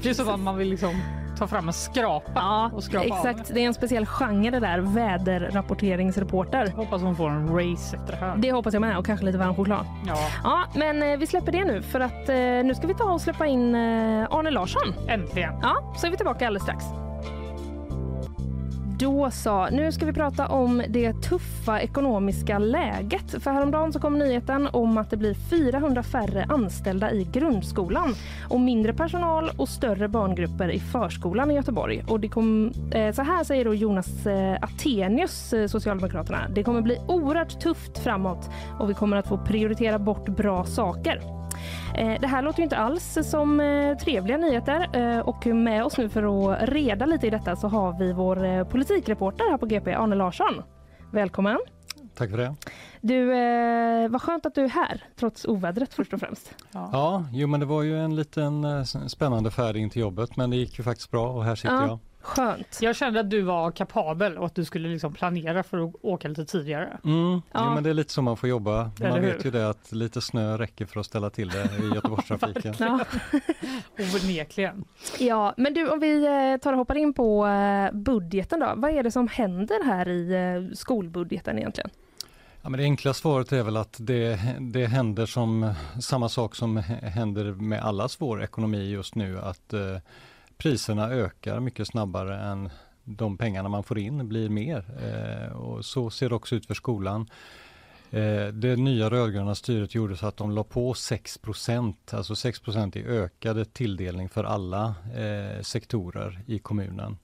det är som att man vill liksom ta fram en skrapa ja och skrapa av. exakt. Det är en speciell genre det där, väderrapporteringsreporter. Jag Hoppas hon får en race efter det här. Det hoppas jag med och kanske lite varm choklad. Ja, Ja, men eh, vi släpper det nu för att eh, nu ska vi ta och släppa in eh, Arne Larsson. äntligen. Ja, så är vi tillbaka alldeles strax. Då så, nu ska vi prata om det tuffa ekonomiska läget. För häromdagen så kom nyheten om att det blir 400 färre anställda i grundskolan och mindre personal och större barngrupper i förskolan i Göteborg. Och det kom, eh, så här säger då Jonas eh, Attenius, eh, Socialdemokraterna. Det kommer bli oerhört tufft framåt och vi kommer att få prioritera bort bra saker. Eh, Det här låter ju inte alls som eh, trevliga nyheter eh, och med oss nu för att reda lite i detta så har vi vår eh, politikreporter här på GP, Arne Larsson. Välkommen! Tack för det. Du, eh, vad skönt att du är här, trots ovädret först och främst. Ja, jo men det var ju en liten eh, s- spännande färd in till jobbet men det gick ju faktiskt bra och här sitter Ja. jag. Skönt! Jag kände att du var kapabel och att du skulle liksom planera för att åka lite tidigare. Mm, Ja. Jo men det är lite så man får jobba. Eller man hur? vet ju det att lite snö räcker för att ställa till det i Göteborgstrafiken. Ja. Onekligen. ja, men du om vi eh, tar och hoppar in på eh, budgeten då. Vad är det som händer här i eh, skolbudgeten egentligen? Ja, men det enkla svaret är väl att det, det händer som samma sak som h- händer med alla svår ekonomi just nu att eh, priserna ökar mycket snabbare än de pengarna man får in blir mer. Eh, och så ser det också ut för skolan. Eh, det nya rödgröna styret gjorde så att de la på 6 alltså 6 i ökade tilldelning för alla eh, sektorer i kommunen.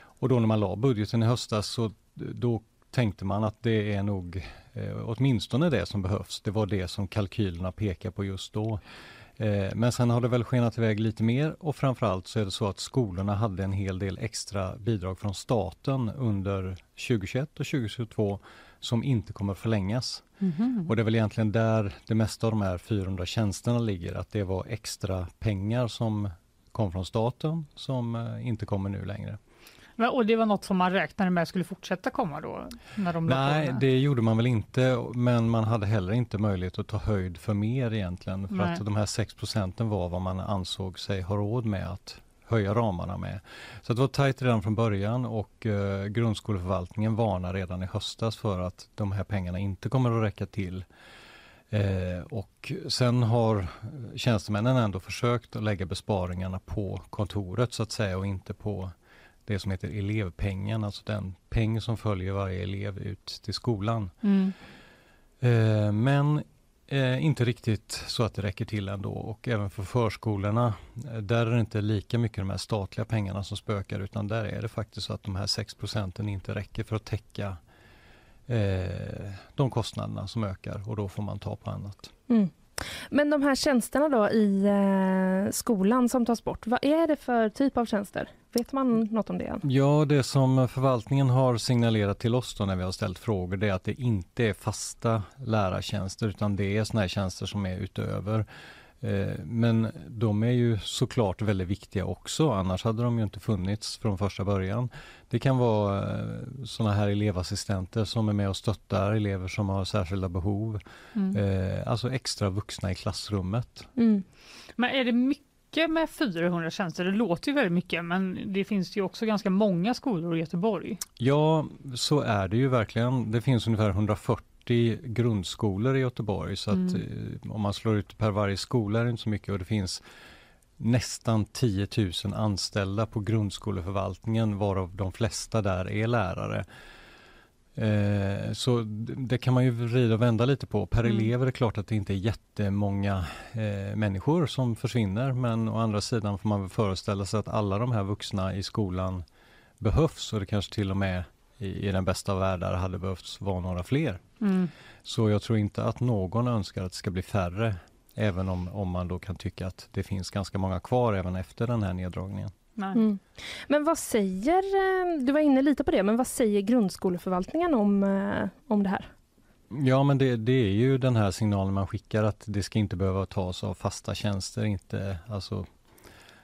Och då när man la budgeten i höstas så då tänkte man att det är nog eh, åtminstone det som behövs. Det var det som kalkylerna pekar på just då. Eh, men sen har det väl skenat iväg lite mer och framförallt så är det så att skolorna hade en hel del extra bidrag från staten under 2021 och 2022 som inte kommer förlängas. Och det är väl egentligen där det mesta av de här 400 tjänsterna ligger, att det var extra pengar som kom från staten som eh, inte kommer nu längre. Men, och det var något som man räknade med skulle fortsätta komma då? När de la på Nej, den här. det gjorde man väl inte, men man hade heller inte möjlighet att ta höjd för mer egentligen. För Nej. att de här 6 procenten var vad man ansåg sig ha råd med att höja ramarna med. Så det var tajt redan från början och eh, grundskoleförvaltningen varnar redan i höstas för att de här pengarna inte kommer att räcka till. Eh, och sen har tjänstemännen ändå försökt att lägga besparingarna på kontoret så att säga och inte på det som heter elevpengen, alltså den peng som följer varje elev ut till skolan. Mm. Eh, Men eh, inte riktigt så att det räcker till ändå och även för förskolorna, eh, där är det inte lika mycket de här statliga pengarna som spökar utan där är det faktiskt så att de här 6 procenten inte räcker för att täcka eh, de kostnaderna som ökar och då får man ta på annat. Mm. Men de här tjänsterna då i eh, skolan som tas bort, vad är det för typ av tjänster? Vet man något om det än? Ja, det som förvaltningen har signalerat till oss då när vi har ställt frågor det är att det inte är fasta lärartjänster utan det är såna här tjänster som är utöver. Eh, Men de är ju såklart väldigt viktiga också, annars hade de ju inte funnits från första början. Det kan vara sådana här elevassistenter som är med och stöttar elever som har särskilda behov. Mm. Eh, Alltså extra vuxna i klassrummet. Mm. Men är det mycket med 400 tjänster? Det låter ju väldigt mycket, men det finns ju också ganska många skolor i Göteborg. Ja, så är det ju verkligen. Det finns ungefär 140 grundskolor i Göteborg så att eh, om man slår ut per varje skola är det inte så mycket och det finns nästan 10 000 anställda på grundskoleförvaltningen varav de flesta där är lärare. Eh, Så d- det kan man ju vrida och vända lite på. Per Mm. elev är det klart att det inte är jättemånga eh, människor som försvinner men å andra sidan får man väl föreställa sig att alla de här vuxna i skolan behövs och det kanske till och med i, i den bästa av världar hade behövts vara några fler. Mm. Så jag tror inte att någon önskar att det ska bli färre, även om, om man då kan tycka att det finns ganska många kvar även efter den här neddragningen. Nej. Mm. Men vad säger, eh, du var inne lite på det, men vad säger grundskoleförvaltningen om, eh, om det här? Ja men det, det är ju den här signalen man skickar att det ska inte behöva tas av fasta tjänster, inte alltså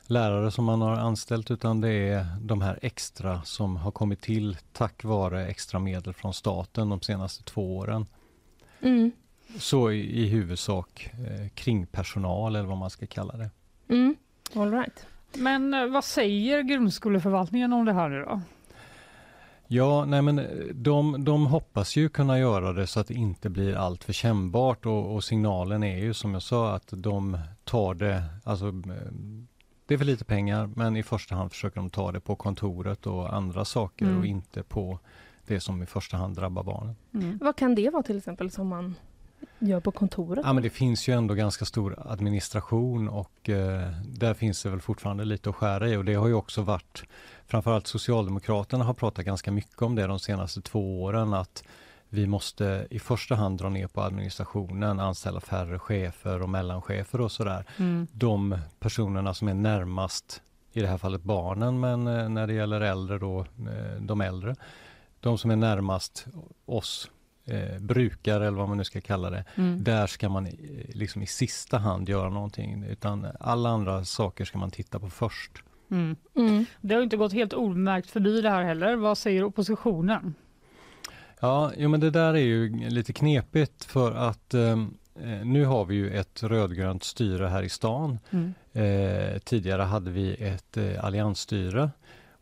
lärare som man har anställt utan det är de här extra som har kommit till tack vare extra medel från staten de senaste två åren. Mm. Så i, i huvudsak eh, kringpersonal eller vad man ska kalla det. Mm. All right. Men eh, vad säger grundskoleförvaltningen om det här nu då? Ja, nej men eh, de, de hoppas ju kunna göra det så att det inte blir allt för kännbart och, och signalen är ju som jag sa att de tar det, alltså eh, det är för lite pengar men i första hand försöker de ta det på kontoret och andra saker Mm. och inte på det som i första hand drabbar barnen. Vad kan det vara till exempel som man gör på kontoret? Ja men det finns ju ändå ganska stor administration och eh, där finns det väl fortfarande lite att skära i och det har ju också varit framförallt Socialdemokraterna har pratat ganska mycket om det de senaste två åren att vi måste i första hand dra ner på administrationen, anställa färre chefer och mellanchefer och sådär. De personerna som är närmast, i det här fallet barnen, men eh, när det gäller äldre då, eh, de äldre, de som är närmast oss eh, brukare eller vad man nu ska kalla det, där ska man eh, liksom i sista hand göra någonting, utan alla andra saker ska man titta på först. Mm. Mm. Det har ju inte gått helt omärkt förbi det här heller. Vad säger oppositionen? Ja, jo, men det där är ju lite knepigt för att eh, nu har vi ju ett rödgrönt styre här i stan. Eh, tidigare hade vi ett eh, alliansstyre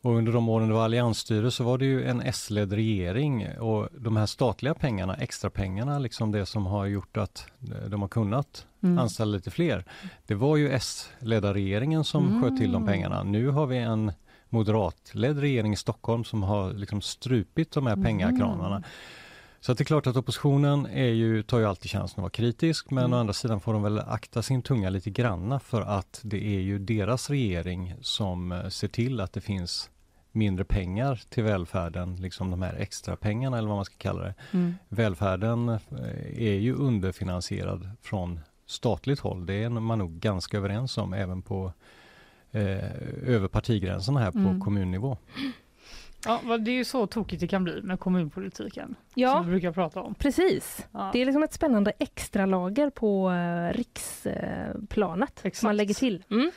och under de åren det var alliansstyre så var det ju en S-ledd regering och de här statliga pengarna, extra pengarna, liksom det som har gjort att eh, de har kunnat anställa lite fler. Det var ju S-ledda regeringen som sköt till de pengarna. Nu har vi en moderatledd regering i Stockholm som har liksom strupit de här pengakranarna. Så att det är klart att oppositionen är ju, tar ju alltid chansen att vara kritisk men å andra sidan får de väl akta sin tunga lite granna för att det är ju deras regering som eh, ser till att det finns mindre pengar till välfärden, liksom de här extra pengarna eller vad man ska kalla det. Välfärden eh, är ju underfinansierad från statligt håll, det är man nog ganska överens om även på eh, över partigränserna här på Mm. kommunnivå. Ja, vad- det är ju så tokigt det kan bli med kommunpolitiken som Ja, vi brukar prata om. precis. Ja. Det är liksom ett spännande extra lager på eh, riksplanet Exakt. som man lägger till. Mm.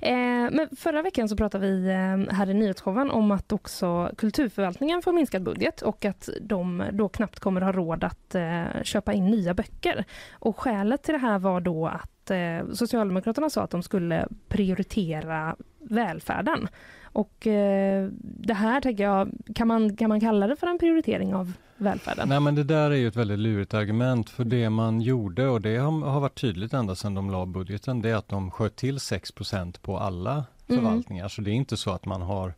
Eh, men förra veckan så pratade vi eh, här i nyhetsshowen om att också kulturförvaltningen får minskad budget och att de då knappt kommer ha råd att eh, köpa in nya böcker. Och skälet till det här var då att eh, Socialdemokraterna sa att de skulle prioritera välfärden. Och eh, det här tänker jag, kan man, kan man kalla det för en prioritering av välfärden? Nej men det där är ju ett väldigt lurigt argument för det man gjorde och det har, har varit tydligt ända sedan de la budgeten det är att de sköt till 6 på alla Mm. förvaltningar så det är inte så att man har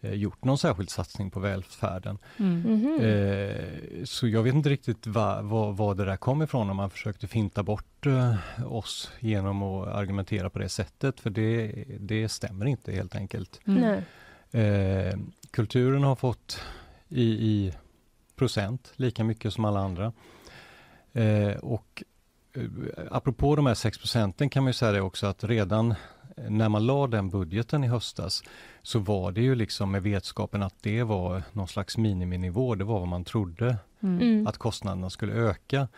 eh, gjort någon särskild satsning på välfärden. Mm. Mhm. Eh, så jag vet inte riktigt va, va, vad det där kom ifrån om man försökte finta bort eh, oss genom att argumentera på det sättet för det, det stämmer inte helt enkelt. Nej. Eh, kulturen har fått i, i procent lika mycket som alla andra. Eh, och eh, apropå de här 6 procenten kan man ju säga det också att redan när man la den budgeten i höstas så var det ju liksom med vetskapen att det var någon slags miniminivå, det var vad man trodde Mm. att kostnaderna skulle öka.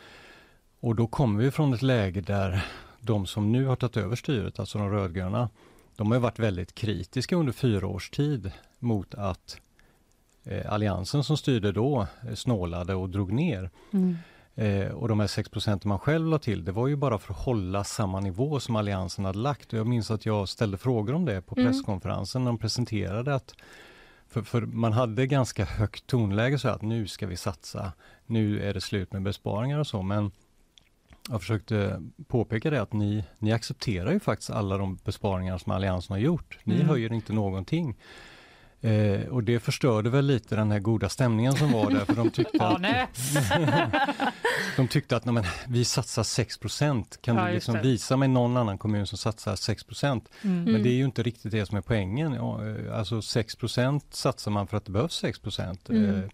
Och då kommer vi från ett läge där de som nu har tagit över styret, alltså de rödgröna, de har ju varit väldigt kritiska under fyra års tid mot att eh, Alliansen som styrde då eh, snålade och drog ner. Eh, och de här 6 procenten man själv la till, det var ju bara för att hålla samma nivå som Alliansen hade lagt. Och jag minns att jag ställde frågor om det på Mm. presskonferensen när de presenterade att för, för man hade ganska högt tonläge så att nu ska vi satsa, nu är det slut med besparingar och så, men jag försökte påpeka det att ni, ni accepterar ju faktiskt alla de besparingar som Alliansen har gjort. Ni Mm. höjer inte någonting. Eh, och det förstörde väl lite den här goda stämningen som var där, för de tyckte Ja, att nej. de tyckte att nej, men, vi satsar 6 kan Ja, just du liksom det. visa mig någon annan kommun som satsar 6 Mm. Men det är ju inte riktigt det som är poängen. Ja, eh, Alltså 6 satsar man för att det behövs 6 Mm. Eh, eh,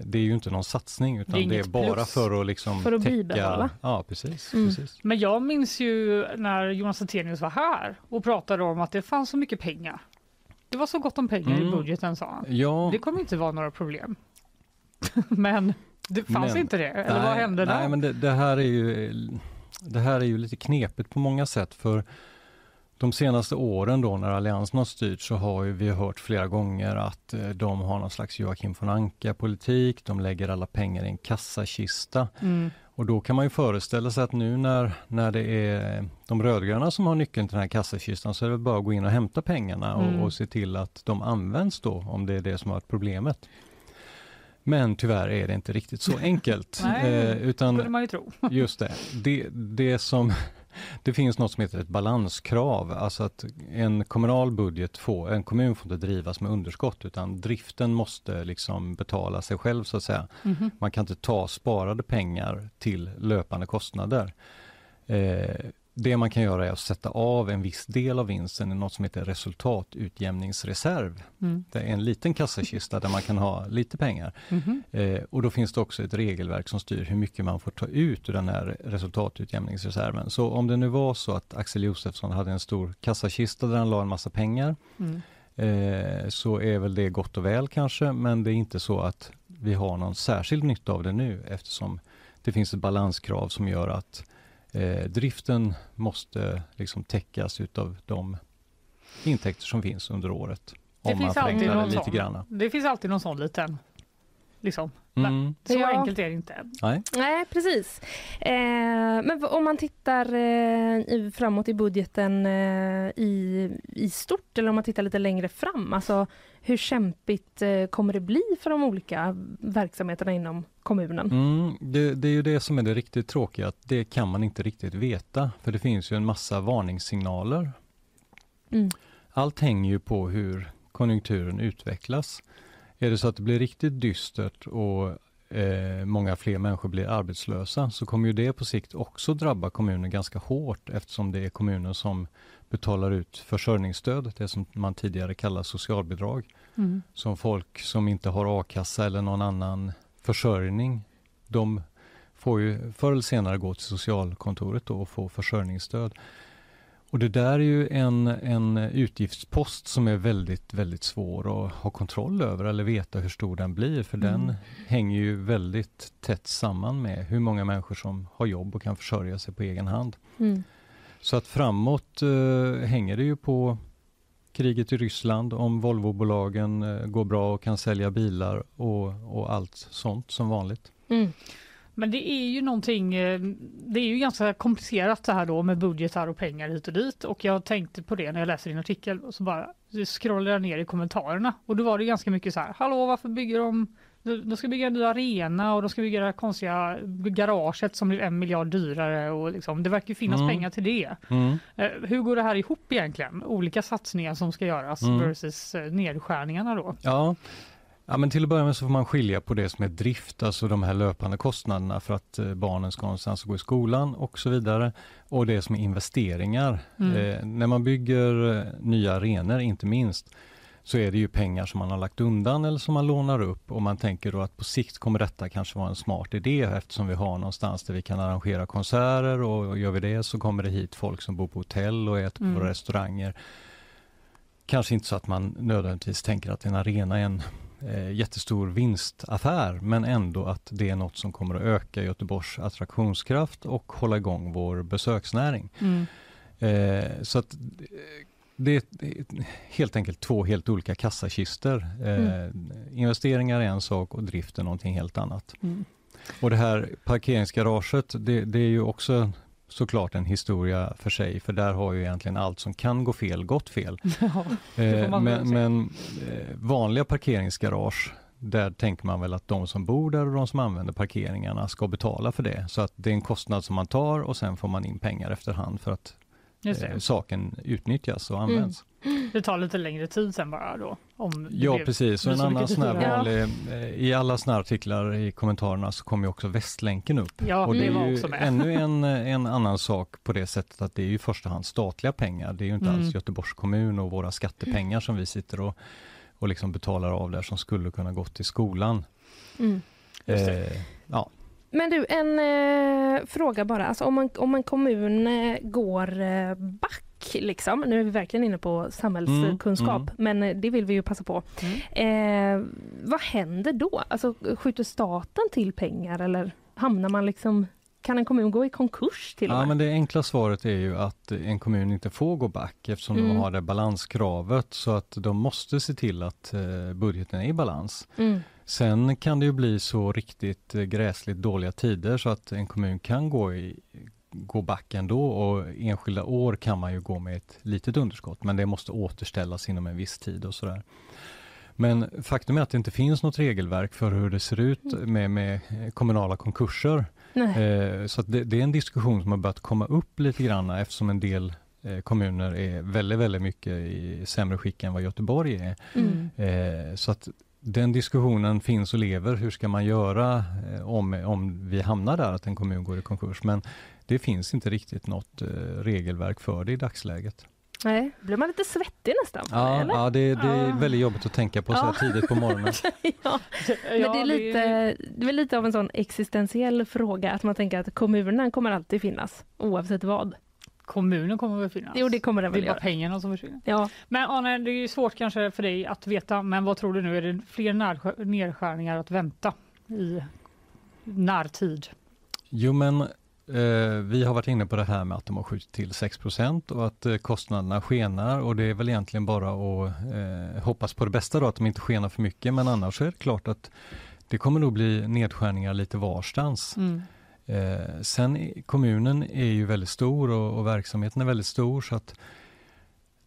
Det är ju inte någon satsning utan Det är det är, inget bara plus. för att liksom För att täcka... bibehålla. Ja, precis. Mm. precis. Men jag minns ju när Jonas Attenius var här och pratade om att det fanns så mycket pengar. Det var så gott om pengar i Mm. budgeten sa han. Ja, Det kommer inte vara några problem. men det fanns Men- inte det, eller vad hände nej, där? Men det, det, här är ju, det här är ju lite knepigt på många sätt för de senaste åren då när Alliansen har styrt så har ju vi hört flera gånger att eh, de har någon slags Joakim von Anka-politik, de lägger alla pengar i en kassakista. Mm. Och då kan man ju föreställa sig att nu när, när det är de rödgröna som har nyckeln till den här kassakistan så är det väl bara att gå in och hämta pengarna och, Mm. och se till att de används då om det är det som har varit problemet. Men tyvärr är det inte riktigt så enkelt. Nej, eh, kunde utan man ju tro. just det, det, det som det finns något som heter ett balanskrav, alltså att en kommunal budget får, en kommun får inte drivas med underskott utan driften måste liksom betala sig själv så att säga. Mhm. Man kan inte ta sparade pengar till löpande kostnader. Eh, det man kan göra är att sätta av en viss del av vinsten i något som heter resultatutjämningsreserv. Mm. Det är en liten kassakista där man kan ha lite pengar. Mhm. Eh, och då finns det också ett regelverk som styr hur mycket man får ta ut ur den här resultatutjämningsreserven. Så om det nu var så att Axel Josefsson hade en stor kassakista där han la en massa pengar Mm. eh, så är väl det gott och väl kanske, men det är inte så att vi har någon särskild nytta av det nu eftersom det finns ett balanskrav som gör att eh, driften måste liksom täckas utav de intäkter som finns under året. Det om finns man alltid förenklar det någon lite sån. grann. Det finns alltid någon sån liten, liksom. Mm. Så Ja. enkelt är det inte. Nej. Nej, precis. Eh, men v- om man tittar eh, i- framåt i budgeten eh, i, i stort eller om man tittar lite längre fram, alltså hur kämpigt eh, kommer det bli för de olika verksamheterna inom kommunen? Mm, det, det är ju det som är det riktigt tråkiga, att det kan man inte riktigt veta, för det finns ju en massa varningssignaler. Mm. Allt hänger ju på hur konjunkturen utvecklas. Är det så att det blir riktigt dystert och eh, många fler människor blir arbetslösa, så kommer ju det på sikt också drabba kommunen ganska hårt, eftersom det är kommunen som betalar ut försörjningsstöd, det som man tidigare kallar socialbidrag Mm. som folk som inte har a-kassa eller någon annan försörjning, de får ju förr eller senare gå till socialkontoret då och få försörjningsstöd. Och det där är ju en, en utgiftspost som är väldigt, väldigt svår att ha kontroll över eller veta hur stor den blir, för den hänger ju väldigt tätt samman med hur många människor som har jobb och kan försörja sig på egen hand. Mm. Så att framåt eh, hänger det ju på kriget i Ryssland, om Volvobolagen eh, går bra och kan sälja bilar och, och allt sånt som vanligt. Mm. Men det är ju någonting, eh, det är ju ganska komplicerat det här då med budgetar och pengar hit och dit och jag tänkte på det när jag läste din artikel och så bara scrollade jag ner i kommentarerna och då var det ganska mycket så här, hallå varför bygger de de ska bygga en ny arena och de ska bygga det här konstiga garaget som blir en miljard dyrare och liksom, det verkar ju finnas Mm. pengar till det. Mm. Eh, Hur går det här ihop egentligen? Olika satsningar som ska göras Mm. versus eh, nedskärningarna då? Ja. ja, men till att börja med så får man skilja på det som är drift, alltså de här löpande kostnaderna för att eh, barnen ska någonstans att gå i skolan och så vidare, och det som är investeringar. Mm. Eh, när man bygger eh, nya arenor, inte minst, så är det ju pengar som man har lagt undan eller som man lånar upp och man tänker då att på sikt kommer detta kanske vara en smart idé eftersom vi har någonstans där vi kan arrangera konserter och och gör vi det så kommer det hit folk som bor på hotell och äter Mm. på restauranger. Kanske inte så att man nödvändigtvis tänker att en arena är en eh, jättestor vinstaffär men ändå att det är något som kommer att öka Göteborgs attraktionskraft och hålla igång vår besöksnäring. Eh, så att eh, det det är helt enkelt två helt olika kassakistor. Eh, Investeringar är en sak och drift är någonting helt annat. Mm. Och det här parkeringsgaraget, det, det är ju också såklart en historia för sig, för där har ju egentligen allt som kan gå fel gått fel. Ja. får Eh, man väl men säga. men eh, vanliga parkeringsgarage, där tänker man väl att de som bor där och de som använder parkeringarna ska betala för det. Så att det är en kostnad som man tar och sen får man in pengar efterhand för att Just eh, det. Mm. saken utnyttjas och används. det tar lite längre tid sen bara då? Om det Ja blev- precis, blir och en så annan mycket sån här dyrare. vanlig, eh, i alla såna här artiklar i kommentarerna så kommer ju också Västlänken upp. Ja, Och det är var ju också med. ännu en, en annan sak på det sättet att det är ju i första hand statliga pengar. Det är ju inte Mm. alls Göteborgs kommun och våra skattepengar som vi sitter och, och liksom betalar av där som skulle kunna gått till skolan. Mm. Just Eh, ja. Men du, en eh, fråga bara. Alltså om, man, om en kommun eh, går eh, back Liksom. Nu är vi verkligen inne på samhällskunskap, Mm, mm. men eh, det vill vi ju passa på. Eh, vad händer då? Alltså, skjuter staten till pengar eller hamnar man liksom... Kan en kommun gå i konkurs till och ja, med? men det enkla svaret är ju att en kommun inte får gå back eftersom Mm. de har det balanskravet så att de måste se till att eh, budgeten är i balans. Mm. Sen kan det ju bli så riktigt eh, gräsligt dåliga tider så att en kommun kan gå, i, gå back ändå och enskilda år kan man ju gå med ett litet underskott men det måste återställas inom en viss tid och sådär. Men faktum är att det inte finns något regelverk för hur det ser ut Mm. med, med kommunala konkurser. Nej. Eh, så att det, det är en diskussion som har börjat komma upp lite grann eftersom en del eh, kommuner är väldigt, väldigt mycket i sämre skick än vad Göteborg är. Mm. Eh, så att den diskussionen finns och lever. Hur ska man göra eh, om, om vi hamnar där att en kommun går i konkurs? Men det finns inte riktigt något eh, regelverk för det i dagsläget. Nej. Blir man lite svettig nästan? Ja, eller? ja det, det är Ah. väldigt jobbigt att tänka på så här Ja. tidigt på morgonen. ja. Men det är, lite, det är väl lite av en sån existentiell fråga att man tänker att kommunen kommer alltid finnas oavsett vad. Kommunen kommer väl finnas? Jo, det kommer den det väl är bara göra. pengarna som försvinner. Ja. Men Anne, det är ju svårt kanske för dig att veta, men vad tror du nu? Är det fler när- nedskärningar att vänta i närtid? Jo, men eh, vi har varit inne på det här med att de har skjutit till 6 och att eh, kostnaderna skenar och det är väl egentligen bara att eh, hoppas på det bästa då, att de inte skenar för mycket. Men annars så är det klart att det kommer nog bli nedskärningar lite varstans. Mm. Eh, sen i- kommunen är ju väldigt stor och, och verksamheten är väldigt stor så att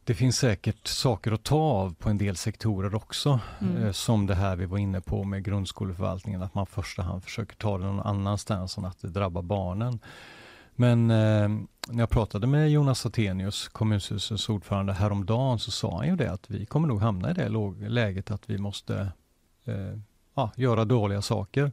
det finns säkert saker att ta av på en del sektorer också. Mm. Eh, som det här vi var inne på med grundskoleförvaltningen, att man i första hand försöker ta det någon annanstans än att det drabbar barnen. Men eh, när jag pratade med Jonas Attenius, kommunstyrelsens ordförande, häromdagen så sa han ju det att vi kommer nog hamna i det låg- läget att vi måste eh, ja, göra dåliga saker.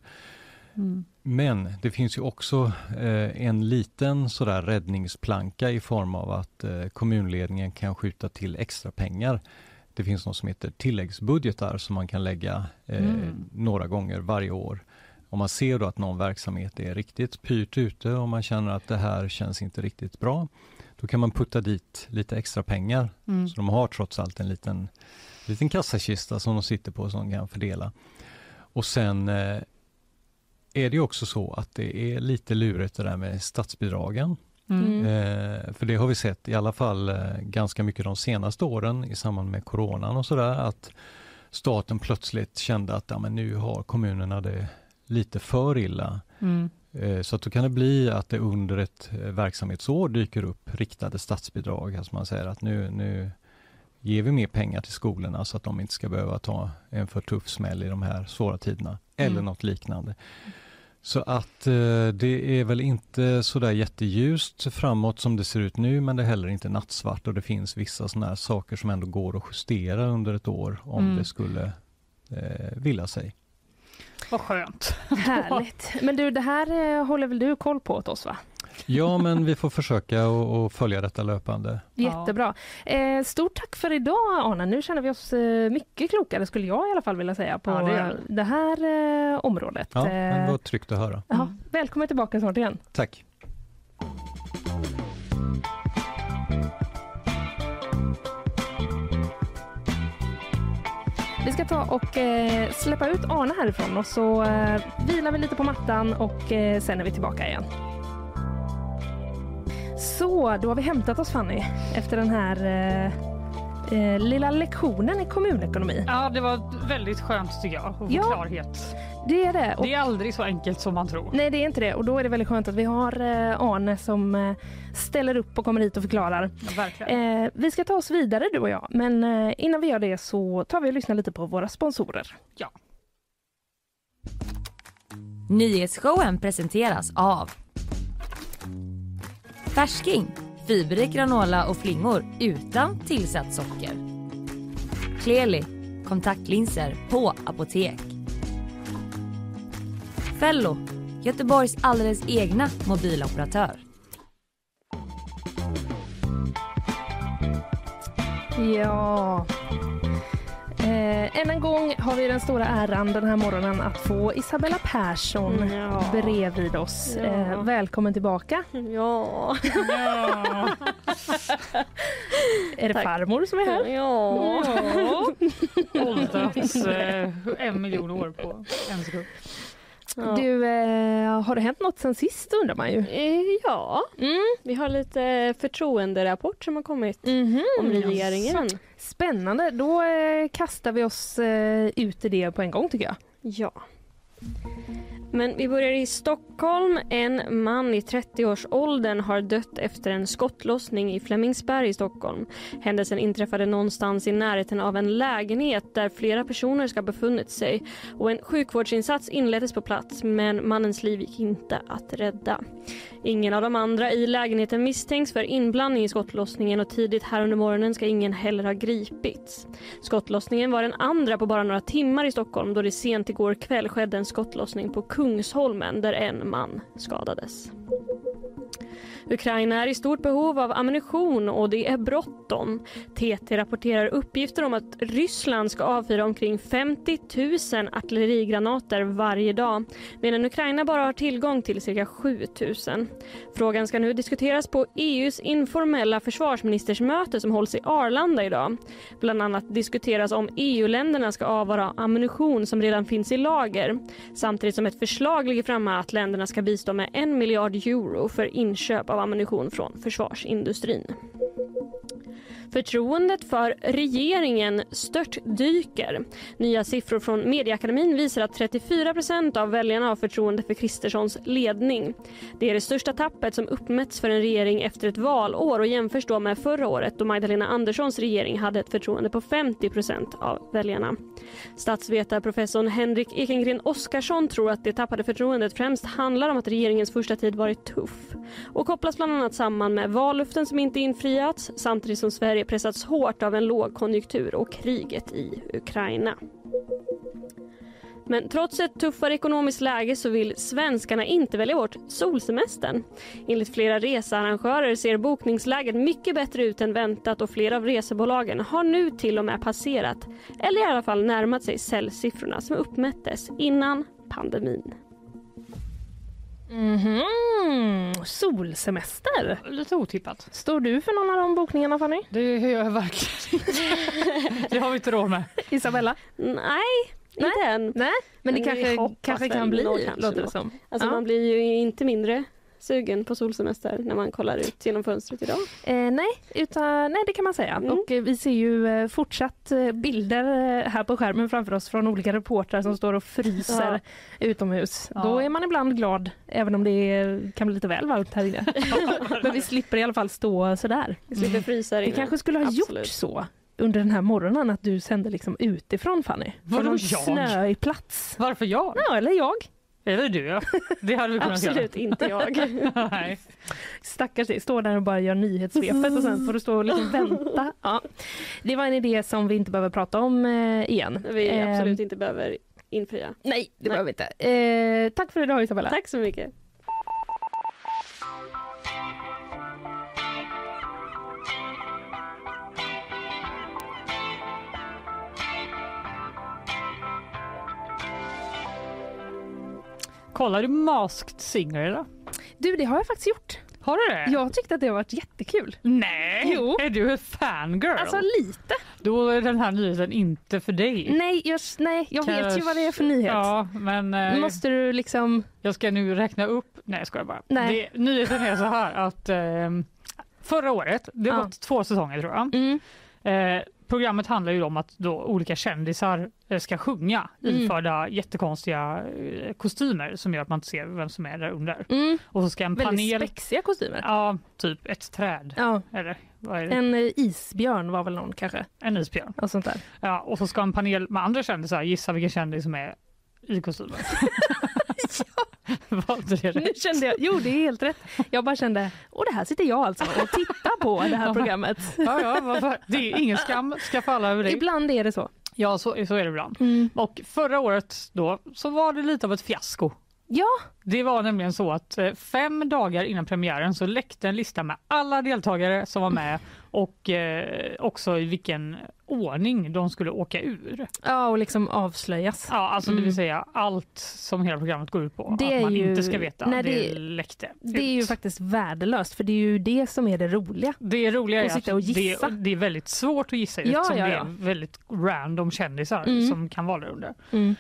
Mm. Men det finns ju också eh, en liten sådär räddningsplanka i form av att eh, kommunledningen kan skjuta till extra pengar. Det finns något som heter tilläggsbudgetar som man kan lägga eh, Mm. några gånger varje år. Om man ser då att någon verksamhet är riktigt pyrt ute och man känner att det här känns inte riktigt bra, då kan man putta dit lite extra pengar. Mm. Så de har trots allt en liten, liten kassakista som de sitter på som de kan fördela. Och sen eh, är det ju också så att det är lite lurigt det där med statsbidragen. Mm. Mm. Eh, för det har vi sett i alla fall eh, ganska mycket de senaste åren i samband med coronan och sådär att staten plötsligt kände att ja, men nu har kommunerna det lite för illa. Mm. Eh, Så att då kan det bli att det under ett eh, verksamhetsår dyker upp riktade statsbidrag. Alltså man säger att nu, nu ger vi mer pengar till skolorna så att de inte ska behöva ta en för tuff smäll i de här svåra tiderna. Eller Mm. något liknande. Så att eh, det är väl inte sådär jätteljust framåt som det ser ut nu men det är heller inte nattsvart och det finns vissa sådana här saker som ändå går att justera under ett år om Mm. det skulle eh, vilja sig. Vad skönt. Härligt. Men du, det här eh, håller väl du koll på åt oss va? Ja men vi får försöka och, och följa detta löpande. Ja. Jättebra. Eh, stort tack för idag Arne. Nu känner vi oss eh, mycket klokare skulle jag i alla fall vilja säga på Ja, det gör eh, det här eh, området. Ja, men det Eh, var tryggt att höra. ja, välkommen tillbaka snart igen. Tack. Vi ska ta och eh, släppa ut Arne härifrån och så eh, vilar vi lite på mattan och eh, sen är vi tillbaka igen. Så, då har vi hämtat oss Fanny efter den här eh, eh, lilla lektionen i kommunekonomi. Ja, det var väldigt skönt tycker jag att få Ja. klarhet. Det är det. Och, Det är aldrig så enkelt som man tror. Nej, det är inte det. Och då är det väldigt skönt att vi har eh, Arne som eh, ställer upp och kommer hit och förklarar. Ja, Verkligen. Eh, vi ska ta oss vidare du och jag, men eh, innan vi gör det så tar vi och lyssnar lite på våra sponsorer. Nyhetsshowen presenteras av Färsking, fiberrik granola och flingor utan tillsatt socker. Kleli, kontaktlinser på apotek. Fello, Göteborgs alldeles egna mobiloperatör. Ja. Eh, än en gång har vi den stora äran den här morgonen att få Isabella Persson Ja. bredvid oss. Ja. Eh, välkommen tillbaka. Ja. Ja. Är det farmor som är här? ja. Åldrats eh, en miljon år på en sekund. Du, eh, har det hänt något sen sist undrar man ju. Eh, Ja, Mm. vi har lite förtroenderapport som har kommit om regeringen. Spännande, då eh, kastar vi oss eh, ut i det på en gång tycker jag. Ja. Men vi börjar i Stockholm. En man i 30-årsåldern har dött efter en skottlossning i Flemingsberg i Stockholm. Händelsen inträffade någonstans i närheten av en lägenhet där flera personer ska ha befunnit sig. Och en sjukvårdsinsats inleddes på plats men mannens liv gick inte att rädda. Ingen av de andra i lägenheten misstänks för inblandning i skottlossningen och tidigt här under morgonen ska ingen heller ha gripits. Skottlossningen var den andra på bara några timmar i Stockholm då det sent igår kväll skedde en skottlossning på Kungsholmen där en man skadades. Ukraina är i stort behov av ammunition och det är bråttom. TT rapporterar uppgifter om att Ryssland ska avfyra omkring 50 000 artillerigranater varje dag medan Ukraina bara har tillgång till cirka 7 000. Frågan ska nu diskuteras på EUs informella försvarsministersmöte som hålls i Arlanda idag. Bland annat diskuteras om EU-länderna ska avvara ammunition som redan finns i lager samtidigt som ett förslag ligger framme att länderna ska bistå med en miljard euro för inköp av ammunition från försvarsindustrin. Förtroendet för regeringen störtdyker. Nya siffror från Mediaakademin visar att 34 av väljarna har förtroende för Kristerssons ledning. Det är det största tappet som uppmätts för en regering efter ett valår och jämförs då med förra året då Magdalena Anderssons regering hade ett förtroende på 50 av väljarna. Statsvetarprofessorn Henrik Ekengren Oskarsson tror att det tappade förtroendet främst handlar om att regeringens första tid varit tuff och kopplas bland annat samman med vallöften som inte infriats samtidigt som Sverige pressats hårt av en lågkonjunktur och kriget i Ukraina. Men trots ett tuffare ekonomiskt läge så vill svenskarna inte välja bort solsemestern. Enligt flera researrangörer ser bokningsläget mycket bättre ut än väntat och flera av resebolagen har nu till och med passerat, eller i alla fall närmat sig säljsiffrorna som uppmättes innan pandemin. Mhm, Solsemester! Lite otippat. Står du för någon av de bokningarna Fanny? Det gör jag verkligen inte. Det har vi inte råd med. Isabella? Nej, inte än. Nej, men det Men vi kanske, hoppas kanske väl kan bli då kanske låter det då. som. Alltså Ja. man blir ju inte mindre sugen på solsemester när man kollar ut genom fönstret idag. Eh, nej, utan, nej, det kan man säga. Mm. Och eh, vi ser ju eh, fortsatt eh, bilder eh, här på skärmen framför oss från olika reportrar som står och fryser Ja. utomhus. Ja. Då är man ibland glad, även om det är, kan bli lite väl varmt här inne. Men vi slipper i alla fall stå sådär. Vi slipper frysa här Vi inne. kanske skulle ha gjort Absolut. så under den här morgonen att du sände liksom utifrån Fanny. Vadå Från någon jag? snöig plats. Varför jag? Ja, eller jag. Eller du ja. Det hade vi kunnat Absolut inte jag. göra. Nej. Stackars dig, står där och bara gör nyhetssvepet och sen får du stå och liksom vänta. Ja. Det var en idé som vi inte behöver prata om eh, igen. Vi Eh, absolut inte behöver infria. Nej, det behöver vi inte. Eh, tack för idag Isabella. Tack så mycket. Kollar du Masked Singer idag? Du, det har jag faktiskt gjort. Har du det? Jag tyckte att det har varit jättekul. Nej! Jo. Är du en fangirl? Alltså lite. Då är den här nyheten inte för dig. Nej, jag, nej, jag vet ju vad det är för nyhet. Mm. Ja, men eh, Måste du liksom... jag ska nu räkna upp. Nej, jag skojar bara. Nej. Det, nyheten är så här att ehm, förra året, det har Ja. gått två säsonger tror jag. Mm. Eh, programmet handlar ju om att då olika kändisar eh, ska sjunga Mm. iförda jättekonstiga eh, kostymer som gör att man inte ser vem som är där under. Mm. Och så ska en Väldigt panel... spexiga kostymer. Ja, typ ett träd. Ja. Eller vad är det? En eh, isbjörn var väl någon kanske. En isbjörn. Och sånt där. Ja, och så ska en panel med andra kändisar gissa vilken kändis som är i kostymen. Var inte det Nu rätt? kände jag, jo det är helt rätt. Jag bara kände, och det här sitter jag alltså och tittar på det här programmet. Ja, ja, varför? Det är ingen skam ska falla över dig. Ibland är det så. Ja, så, så är det ibland. Mm. Och förra året då så var det lite av ett fiasko. Ja, Det var nämligen så att eh, fem dagar innan premiären så läckte en lista med alla deltagare som var med Mm. och eh, också i vilken ordning de skulle åka ur. ja och liksom avslöjas. Ja, alltså det vill säga allt som hela programmet går ut på Mm. Det att är man ju- inte ska veta. nej, det, det- läckte. Det är ju ut. faktiskt värdelöst för det är ju det som är det roliga. Det roliga är Och sitta och att det, gissa. det är väldigt svårt att gissa ut Ja, som ja, det ja. är väldigt random kändisar Mm. som kan vara där under. Mm.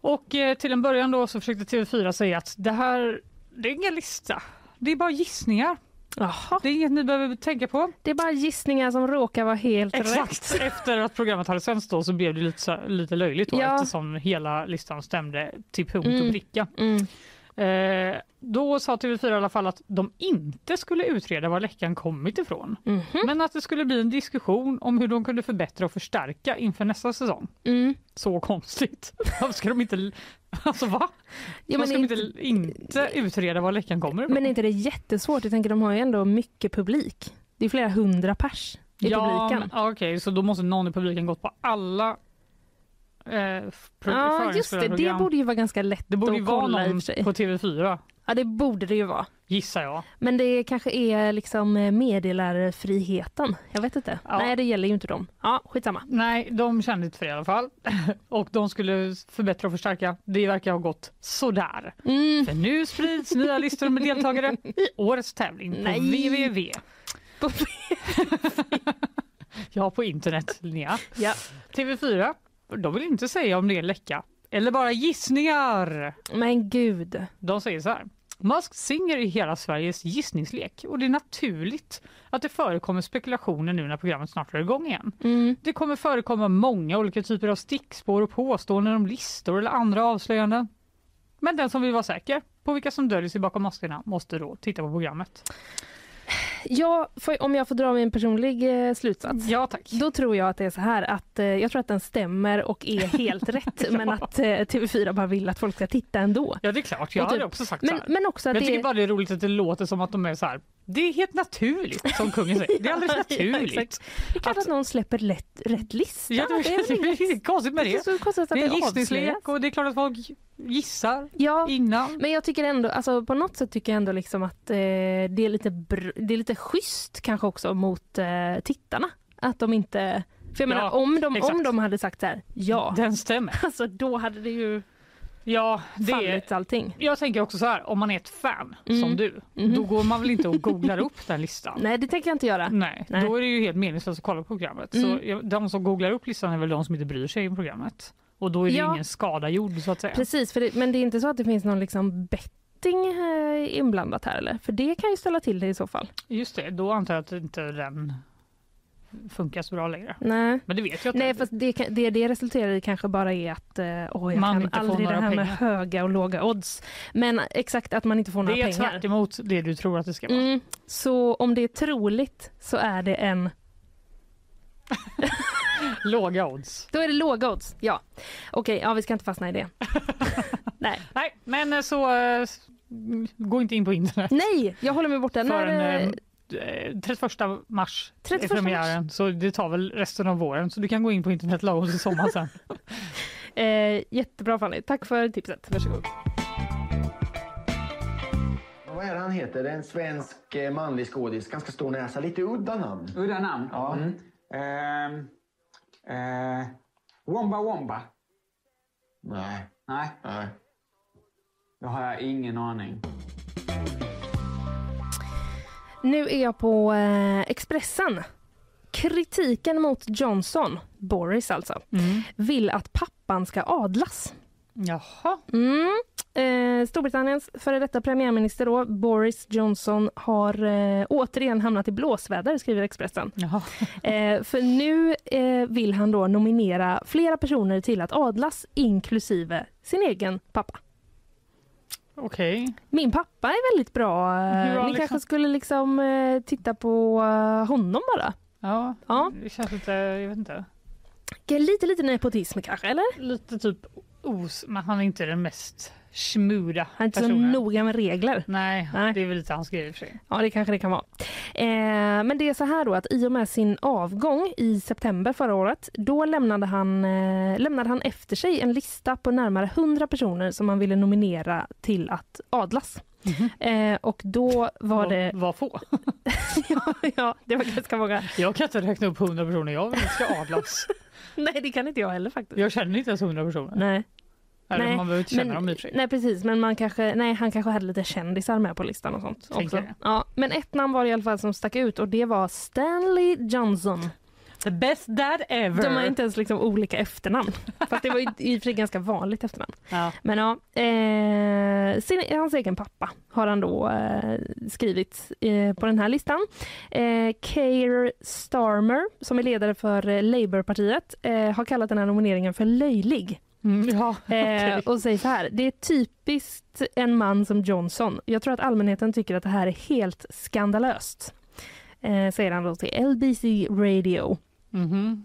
Och eh, till en början då så försökte TV4 säga att det här, det är ingen lista. Det är bara gissningar. Jaha. Det är inget ni behöver tänka på. Det är bara gissningar som råkar vara helt rätt. Direkt efter att programmet hade sänts då så blev det lite, så- lite löjligt då, Ja. eftersom hela listan stämde till punkt Mm. och pricka. Mm. Eh, då sa TV4 i alla fall att de inte skulle utreda var läckan kommit ifrån. Mhm. Men att det skulle bli en diskussion om hur de kunde förbättra och förstärka inför nästa säsong. Mm. Så konstigt. Varför ska de inte... Alltså va? Ja, Varför men, ska inte, de inte, inte utreda var läckan kommer ifrån? men är inte det jättesvårt? Jag tänker de har ju ändå mycket publik. Det är flera hundra pers i ja, publiken. men- ja, Okej, så då måste någon i publiken gått på alla eh, pro- Ja just det, det förföringsprogram. borde ju vara ganska lätt det borde ju att vara kolla i och någon för sig. på TV4, Ja det borde det ju vara. gissar jag. Men det kanske är liksom eh, meddelarfriheten. Jag vet inte. Ja. Nej, det gäller ju inte dem. Ja, skitsamma. Nej, de kände inte för det i alla fall. Och de skulle förbättra och förstärka. Det verkar ha gått sådär. Mm. För nu sprids nya listor med deltagare i årets tävling på Nej. www. På- Ja, på internet, Linnea. Ja. TV4, de vill inte säga om det är en läcka eller bara gissningar. Men gud. De säger så här. Musk Singer är hela Sveriges gissningslek och det är naturligt att det förekommer spekulationer nu när programmet snart drar igång igen. Mm. Det kommer förekomma många olika typer av stickspår och påståenden om listor eller andra avslöjanden. Men den som vill vara säker på vilka som döljer sig bakom maskerna måste då titta på programmet. Jag får, om jag får dra min personlig eh, slutsats. Ja tack. Då tror jag att det är så här att eh, jag tror att den stämmer och är helt rätt men att eh, TV4 bara vill att folk ska titta ändå. Ja det är klart, jag Och typ- hade också sagt så Men, här. men också att Jag det tycker bara det är roligt att det låter som att de är så här. Det är helt naturligt som kungen säger. Det är alldeles Ja, naturligt. exakt. det är klart att någon släpper lätt, rätt lista. Ja, det, det är väl är inget inget konstigt med det är det. så konstigt att Det är det en gissningslek avslöjas. och det är klart att folk gissar Ja, innan. Men jag tycker ändå, alltså på något sätt tycker jag ändå liksom att eh, det, är lite br- det är lite schysst kanske också mot eh, tittarna. Att de inte, för jag Ja, menar om de, om exakt. de hade sagt så här, ja, Den stämmer. alltså då hade det ju Ja, det är, fallit allting. jag tänker också så här, om man är ett fan Mm. som du, Mhm. då går man väl inte och googlar upp den listan? Nej det tänker jag inte göra. Nej, Nej. då är det ju helt meningslöst att kolla på programmet. Så Mm. jag- de som googlar upp listan är väl de som inte bryr sig om programmet. Och då är det Ja. ingen skada gjord så att säga. Precis, för det, men det är inte så att det finns någon liksom bättre betting eh, inblandat här eller? För det kan ju ställa till det i så fall. Just det, då antar jag att inte den funkar så bra längre. Nej. Men det vet jag inte. Nej, fast det, kan- det det resulterar i kanske bara är att eh, åh, jag Man man inte kan får aldrig det några här med pengar. höga och låga odds. Men exakt att man inte får några det är pengar. tvärt emot det du tror att det ska vara. Mm, så om det är troligt så är det en... Låga odds. Då är det låga odds. Ja. Okej, ja, vi ska inte fastna i det. Nej. Nej, men eh, så eh, s- mm, gå inte in på internet Nej, jag håller mig borta. När, eh, förrän eh, eh, 31 mars 31 är premiären. Så det tar väl resten av våren. Så du kan gå in på internet lagom till sommaren sen. Eh, jättebra Fanny, tack för tipset. Varsågod. Vad är det han heter? En svensk eh, manlig skådis. Ganska stor näsa. Lite udda namn. Udda namn. Ja. Mm. Ehm, eh, womba Womba. Nej. Nej, Nej. det har jag ingen aning. Nu är jag på eh, Expressen. Kritiken mot Johnson, Boris alltså, Mm. vill att pappan ska adlas. Jaha. Mm. Eh, Storbritanniens före detta premiärminister då, Boris Johnson har eh, återigen hamnat i blåsväder, skriver Expressen. Jaha. Eh, för nu eh, vill han då nominera flera personer till att adlas, inklusive sin egen pappa. Okej. Min pappa är väldigt bra. Eh, Hur har Ni liksom- kanske skulle liksom eh, titta på eh, honom bara. Ja, Ja. det känns lite, jag vet inte. Mm. Lite, lite nepotism kanske, eller? Lite typ os, men han är inte den mest smuda Han är inte så personen. noga med regler. Nej, Nej. det är väl lite hans grej i och för sig. Ja, det kanske det kan vara. Eh, men det är så här då att i och med sin avgång i september förra året, då lämnade han, eh, lämnade han efter sig en lista på närmare 100 personer som han ville nominera till att adlas. Eh, och då var det... Vad- Vad få. ja, ja, det var ganska många. Jag kan inte räkna upp hundra personer jag vill ska adlas. Nej, det kan inte jag heller faktiskt. Jag känner inte ens hundra personer. Nej. Eller, Nej, man behöver inte känna dem i och för sig. nej precis, men man kanske, nej, han kanske hade lite kändisar med på listan och sånt. Tänker Också. jag. Ja, men ett namn var det i alla fall som stack ut och det var Stanley Johnson. The best dad ever. De har inte ens liksom olika efternamn. Fast det var ju i och för sig ganska vanligt efternamn. Ja. Men ja, eh, sin, hans egen pappa har han då eh, skrivit eh, på den här listan. Eh, Keir Starmer, som är ledare för eh, Labourpartiet, eh, har kallat den här nomineringen för löjlig. Mm, ja. Eh, och säger så här, det är typiskt en man som Johnson. Jag tror att allmänheten tycker att det här är helt skandalöst. Eh, säger han då till LBC Radio. Mhm.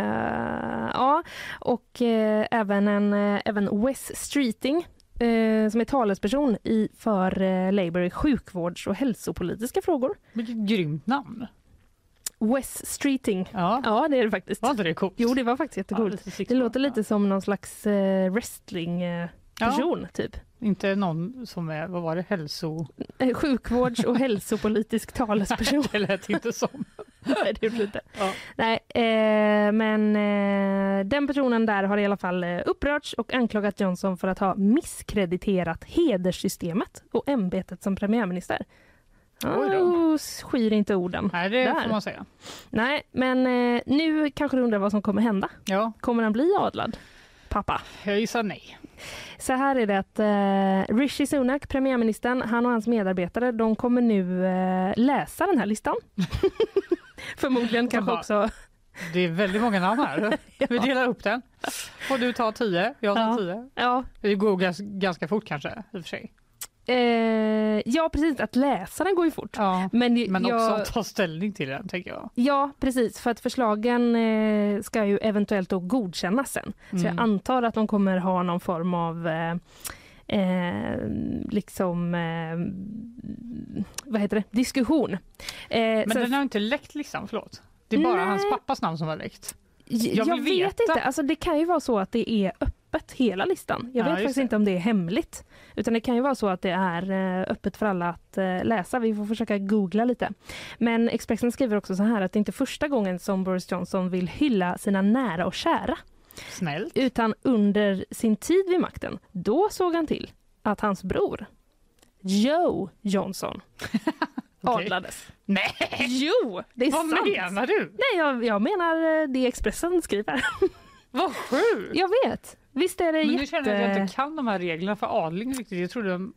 Eh, ja, och eh, även, en, eh, även Wes Streeting eh, som är talesperson i, för eh, Labour i sjukvårds och hälsopolitiska frågor. Vilket grymt namn. Wes Streeting. Ja. Ja, det är det faktiskt. Var inte det coolt? Jo, det var faktiskt jättekult. Det låter lite som någon slags eh, ja. wrestlingperson, typ. Inte någon som är, vad var det, hälso... Eh, Sjukvårds och hälsopolitisk talesperson. Det lät inte som. Nej, det gjorde det inte. Ja. Nej, eh, men eh, den personen där har i alla fall eh, upprörts och anklagat Johnson för att ha misskrediterat hederssystemet och ämbetet som premiärminister. Oj då. Oh, skyr inte orden. Nej, det Där. får man säga. Nej, men eh, nu kanske du undrar vad som kommer hända. Ja, Kommer han bli adlad? Pappa. jag gissar nej. Så här är det att eh, Rishi Sunak, premiärministern, han och hans medarbetare, de kommer nu eh, läsa den här listan. Förmodligen kanske bara- också Det är väldigt många namn här. Vi delar upp den. Och du tar tio, jag tar Ja. tio. Ja, Det går gans, ganska fort kanske, i och för sig. eh, ja precis. Att läsa den går ju fort. Ja. Men, ju- Men jag, också att ta ställning till den, tänker jag. Ja, precis. För att förslagen eh, ska ju eventuellt då godkännas sen. Så Mm. jag antar att de kommer ha någon form av eh, Eh, liksom, eh, vad heter det, diskussion. Eh, Men så- den har inte läckt listan, förlåt. Det är bara Nej. hans pappas namn som har läckt. J- Jag Jag, vill vet veta. inte. Alltså, det kan ju vara så att det är öppet, hela listan. Jag vet Ja, just faktiskt det. inte om det är hemligt. Utan det kan ju vara så att det är eh, öppet för alla att eh, läsa. Vi får försöka googla lite. Men Expressen skriver också så här att det inte är första gången som Boris Johnson vill hylla sina nära och kära. Snällt. Utan under sin tid vid makten, då såg han till att hans bror Joe Johnson Okej. adlades. Nej, Jo, det är vad sant! menar du? Nej, jag, jag menar eh, det Expressen skriver. Vad sjukt! Jag vet. Visst är det Typ. Men nu jätte... känner jag att jag inte kan de här reglerna för adling riktigt. Jag trodde de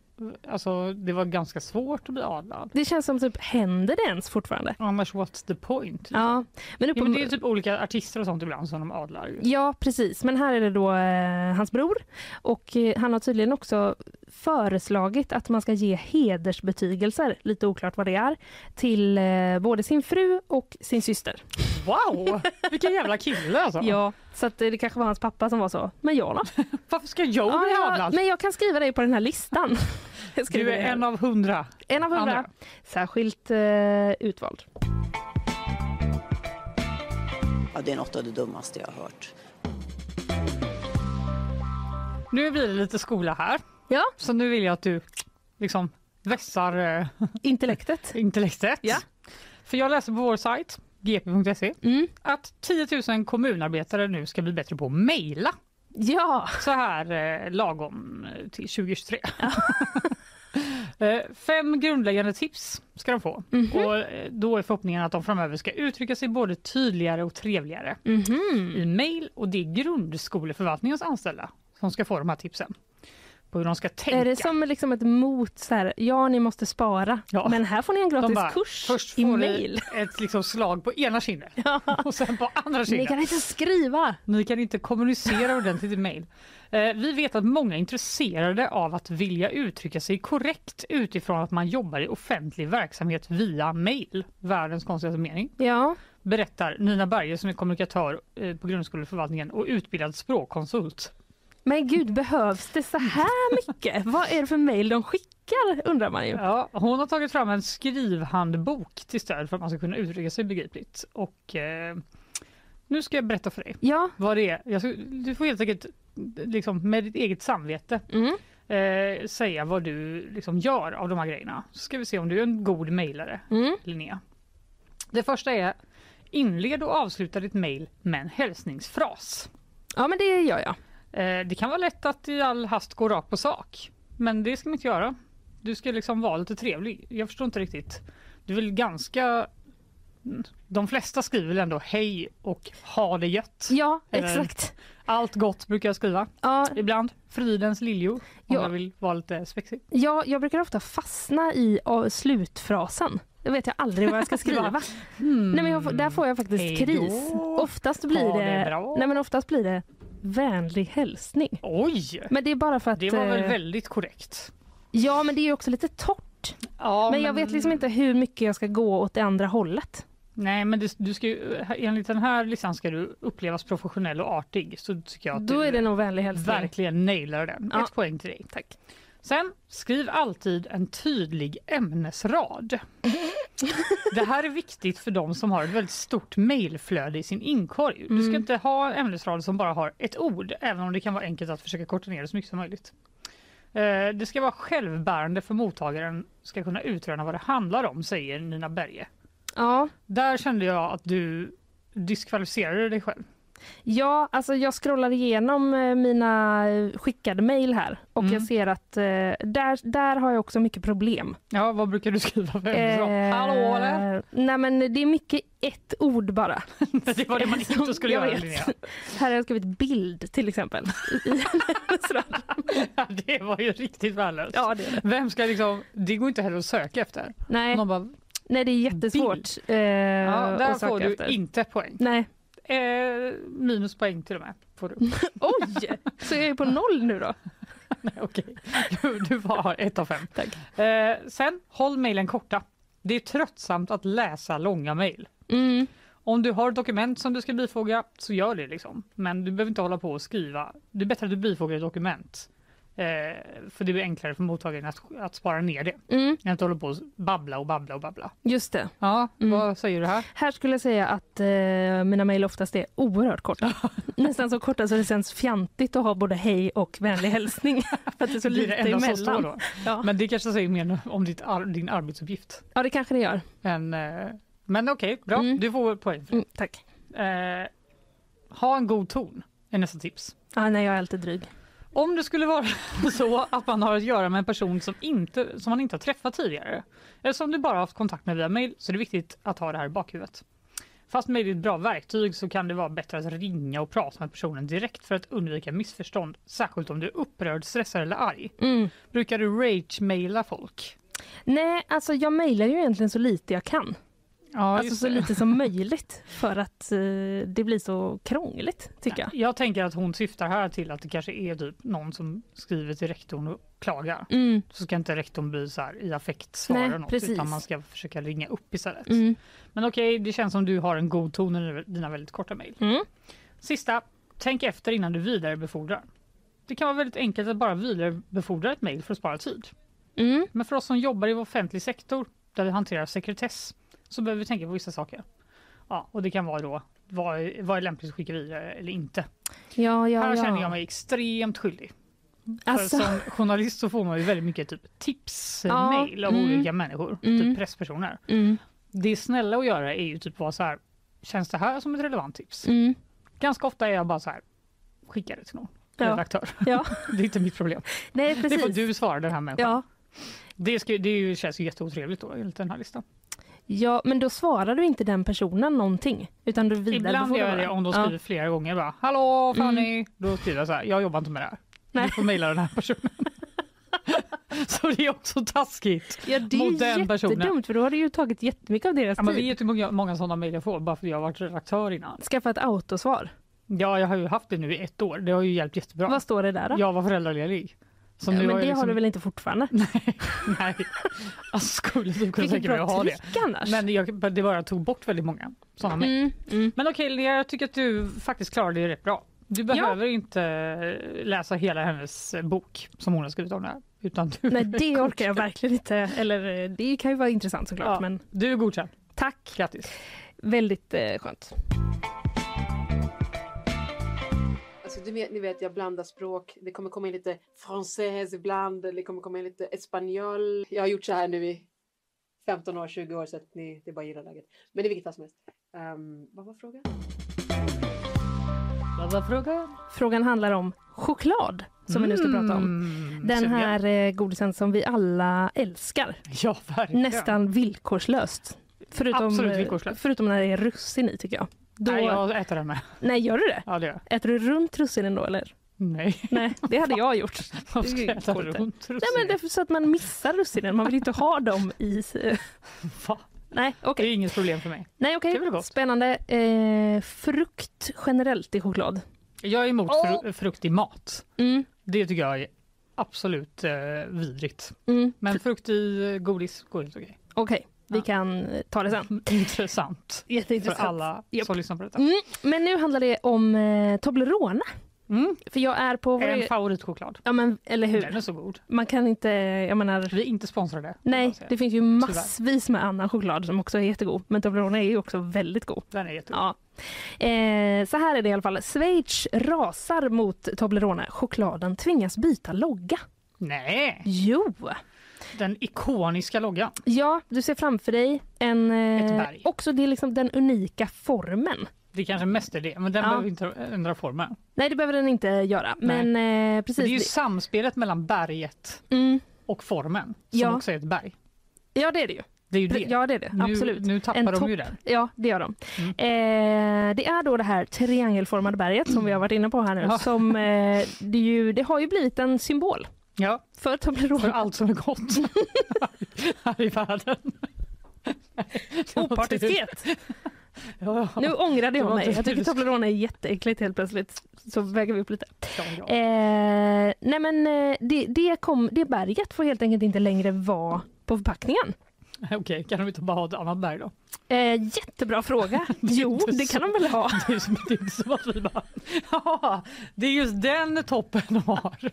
Alltså, det var ganska svårt att bli adlad. Det känns som typ, händer det ens fortfarande? Annars, what's the point? Ja, men, uppe, Ja, men det är typ olika artister och sånt ibland som de adlar. Ju. Ja, precis. Men här är det då eh, hans bror. Och eh, han har tydligen också föreslagit att man ska ge hedersbetygelser, lite oklart vad det är, till eh, både sin fru och sin syster. Wow! Vilken jävla kille alltså! Ja, så att eh, det kanske var hans pappa som var så. Men jag då? Varför ska jag Ja, bli jag, adlad? men jag kan skriva dig på den här listan. Jag skriver Du är det här. en av hundra. en av hundra. Andra. Särskilt eh, utvald. Ja, det är något av det dummaste jag har hört. Nu blir det lite skola här. Ja. Så nu vill jag att du liksom vässar eh, Intellektet. intellektet. Ja. För jag läser på vår sajt, gp.se, Mm. att 10 000 kommunarbetare nu ska bli bättre på att mejla Ja. så här eh, lagom eh, till 2023. Eh, Fem grundläggande tips ska de få. Mhm. Och eh, då är förhoppningen att de framöver ska uttrycka sig både tydligare och trevligare Mhm. i mejl. Och det är grundskoleförvaltningens anställda som ska få de här tipsen på hur de ska tänka. Är det som liksom ett mot så här, ja ni måste spara, Ja. men här får ni en de gratis bara, kurs först i får mail. du ett liksom slag på ena kinden och sen på andra kinden. Ni kan inte skriva! Ni kan inte kommunicera ordentligt i mejl. Eh, vi vet att många är intresserade av att vilja uttrycka sig korrekt utifrån att man jobbar i offentlig verksamhet via mejl. Världens konstigaste mening. Ja, Berättar Nina Berge som är kommunikatör eh, på grundskoleförvaltningen och utbildad språkkonsult. men gud behövs det så här mycket? Vad är det för mejl de skickar undrar man ju. Ja, hon har tagit fram en skrivhandbok till stöd för att man ska kunna uttrycka sig begripligt. Och eh, nu ska jag berätta för dig Ja, vad det är. Jag ska, du får helt enkelt liksom, med ditt eget samvete mm. eh, säga vad du liksom gör av de här grejerna. Så ska vi se om du är en god mejlare, Mm. Linnea. Det första är inled och avsluta ditt mejl med en hälsningsfras. ja men det gör jag. Eh, det kan vara lätt att i all hast gå rakt på sak, men det ska man inte göra. Du ska liksom vara lite trevlig. Jag förstår inte riktigt. Du vill ganska... De flesta skriver väl ändå hej och ha det gött. Ja, Eller- Typ. exakt. Allt gott brukar jag skriva. Ja, Ibland fridens liljor om Ja. jag vill vara lite spexig. ja, jag brukar ofta fastna i av, slutfrasen. Då vet jag aldrig vad jag ska skriva. Nej, men jag, får- där får jag faktiskt hmm, Hej då. kris. Oftast blir Ha det, det bra. nej, men oftast blir det vänlig hälsning. Oj! Men det är bara för att... Det var väl eh, väldigt korrekt. Ja, men det är ju också lite torrt. Ja, men jag vet liksom inte hur mycket jag ska gå åt det andra hållet. Nej, men det, du ska ju, enligt den här listan ska du upplevas professionell och artig. Så tycker jag att Då du är det nog vänlig hälsning. verkligen nailar den. Ja. Ett poäng till dig. Tack. Sen, skriv alltid en tydlig ämnesrad. Det här är viktigt för de som har ett väldigt stort mejlflöde i sin inkorg. Du Mm. ska inte ha en ämnesrad som bara har ett ord, även om det kan vara enkelt att försöka korta ner det så mycket som möjligt. Eh, Det ska vara självbärande för mottagaren ska kunna utröna vad det handlar om, säger Nina Berge. Ja, Där kände jag att du diskvalificerade dig själv. ja alltså jag scrollar igenom eh, mina eh, skickade mejl här och Mm. jag ser att eh, där, där har jag också mycket problem. Ja, vad brukar du skriva för Eh, ämnesrad? Hallå eller? Nej men det är mycket ett ord bara. Det var det man inte skulle jag göra vet. Linnea. Här har jag skrivit bild till exempel. i- i en rad. Ja, det var ju riktigt värdelöst. ja, det är det. Vem ska liksom, det går inte heller att söka efter. Nej, Någon bara, nej, det är jättesvårt eh, ja, där att söka får du efter. inte poäng. Nej. Eh, minuspoäng till och med får Mm. du. Oj! Så jag är på noll nu då? Nej, okej. Du, du var ett av fem. Tack. Eh, sen, håll mejlen korta. Det är tröttsamt att läsa långa mejl. Mm. Om du har dokument som du ska bifoga så gör det liksom. Men du behöver inte hålla på och skriva. Det är bättre att du bifogar ett dokument. Eh, för det blir enklare för mottagaren att, att spara ner det. Mm. Än att hålla på och babbla och babbla och babbla. Just det. Ja, Mm. vad säger du här? Här skulle jag säga att eh, mina mejl oftast är oerhört korta. Nästan så korta så det känns fjantigt att ha både hej och vänlig hälsning. För att det är så Blir lite det enda som står emellan. då. Ja. Men det kanske säger mer om ditt ar- din arbetsuppgift. ja, det kanske det gör. Än, eh, men okej, bra. Mm. Du får poäng. För Mm, tack. det. Eh, ha en god ton är nästa tips. Ah, nej, jag är alltid dryg. Om det skulle vara så att man har att göra med en person som, inte, som man inte har träffat tidigare eller som du bara har haft kontakt med via mail så är det viktigt att ha det här i bakhuvudet. Fast med ett bra verktyg så kan det vara bättre att ringa och prata med personen direkt för att undvika missförstånd, särskilt om du är upprörd, stressad eller arg. Brukar du rage-maila folk? Nej, alltså jag mejlar ju egentligen så lite jag kan. Ja, alltså just så det. lite som möjligt för att eh, det blir så krångligt tycker jag. Jag tänker att hon syftar här till att det kanske är typ någon som skriver till rektorn och klagar. Mm. Så ska inte rektorn bli så här i affekt svara Nej, något precis. utan man ska försöka ringa upp istället. Mm. Men okej, det känns som du har en god ton i dina väldigt korta mejl. Mm. Sista, tänk efter innan du vidarebefordrar. Det kan vara väldigt enkelt att bara vidarebefordra ett mejl för att spara tid. Mm. Men för oss som jobbar i offentlig sektor där vi hanterar sekretess så behöver vi tänka på vissa saker. Ja, och det kan vara då vad är, vad är lämpligt att skicka vidare eller inte. Ja, ja, Här ja. känner jag mig extremt skyldig. Alltså. För som journalist så får man ju väldigt mycket typ Ja, tipsmail av mm. olika människor, Mm. typ presspersoner. Mm. Det snälla att göra är ju typ vara så här, känns det här som ett relevant tips? Mm. Ganska ofta är jag bara så här, skicka det till någon Ja. redaktör. Ja. det är inte mitt problem. Nej, Det får precis. du svara den här människan. Ja. Det, ska, det är ju- känns ju jätteotrevligt då enligt den här listan. ja, men då svarar du inte den personen någonting utan du vidarebefordrar Ibland gör jag det bara. om de Ja. Mm. skriver flera gånger bara Hallå Fanny! Då skriver jag så här, jag jobbar inte med det här. Nej. Du får mejla den här personen. så det är också taskigt Ja, det är mot ju den personen. jättedumt för då har du ju tagit jättemycket av deras Ja, men tid. vet du hur många, många sådana mejl jag får bara för att jag har varit redaktör innan? Skaffa ett autosvar. Ja, jag har ju haft det nu i ett år. Det har ju hjälpt jättebra. Vad står det där då? Jag var föräldraledig. Så Ja, men nu det jag har liksom- du väl inte fortfarande? Nej, alltså skulle du kunna Vilket tänka mig bra att ha det. trick annars. Men jag, det var jag tog bort väldigt många sådana mejl. Mm, mm. Men okej, Linnea, jag tycker att du faktiskt klarade det rätt bra. Du behöver inte läsa hela hennes bok som hon har skrivit om det här. Utan du, Nej, det orkar jag verkligen inte. Eller eh, det kan ju vara intressant såklart, Ja. men du är godkänd. tack. Grattis. Väldigt eh, skönt. Alltså, du vet, ni vet, jag blandar språk. Det kommer komma in lite français ibland. Det kommer komma in lite espanjol. Jag har gjort så här nu i 15 år, 20 år, så att ni, det är bara att gilla läget. Men i vilket fall som helst. Ehm, vad var frågan? Vad var frågan? Frågan handlar om choklad som vi nu ska prata Mm, om. Den sugen. här eh, godisen som vi alla älskar. Ja, verkligen. Nästan villkorslöst. Förutom, Absolut eh, villkorslöst. Förutom när det är russin i tycker jag. Då, Nej, jag äter den med. Nej, gör du det? Ja, det gör jag. Äter du runt russinen då eller? Nej, Nej, det hade jag gjort. varför ska Det jag äta går inte. runt Nej men det är så att man missar russinen, man vill inte ha dem i... Va? Nej, okej. Det är inget problem för mig. Nej, Det okej. är väl gott. Spännande. Eh, frukt generellt i choklad. Jag är emot fru- frukt i mat. Mm, Det tycker jag är absolut eh, vidrigt. mm. Men frukt i eh, godis går helt okej. Mm, Okej, vi kan ta det sen. Intressant för Jätteintressant. alla Japp. som lyssnar på detta. Mm, men nu handlar det om eh, Toblerone. Mm. För jag är på... vår- En favoritchoklad. ja, men, eller Den är hur? så god. Man kan inte... Jag menar... Vi är inte sponsrade. vill jag Nej, säga. det finns ju massvis med annan choklad som också är jättegod. Men Toblerone är ju också väldigt god. Den är jättegod. Ja. Eh, så här är det i alla fall. Schweiz rasar mot Toblerone. Chokladen tvingas byta logga. Nej, Jo! den ikoniska loggan. Ja, du ser framför dig en... eh, Ett berg. Också det är liksom den unika formen. Det kanske mest är det, men den Ja. behöver inte ändra formen. Nej, det behöver den inte göra. Nej. Men eh, Det precis. är ju samspelet mellan berget det- mm. och formen som Ja. också är ett berg. Ja, det är det ju. Det är ju det. Pre- Ja, det är det. Nu- Absolut. nu tappar en de ju topp. det. Ja, det gör de. Eh, det är då det här triangelformade berget som vi har varit inne på här nu. Ja. Som, eh, det, är ju, det har ju blivit en symbol Ja, för Toblerone. för allt som är gott här i världen. Opartiskhet! Ja, ja. Nu ångrade Det jag var mig. inte Jag det tycker du sa. Toblerone är jätteäckligt helt plötsligt. Så väger vi upp lite. Ja, ja. Eh, nej men eh, det, det, kom, det berget får helt enkelt inte längre vara på förpackningen. Eh, Okej, kan de inte bara ha ett annat berg då? Eh, jättebra fråga. är Jo, inte det så- kan de väl ha. Det är som- det är inte som att vi bara, ja, det är just den toppen de har.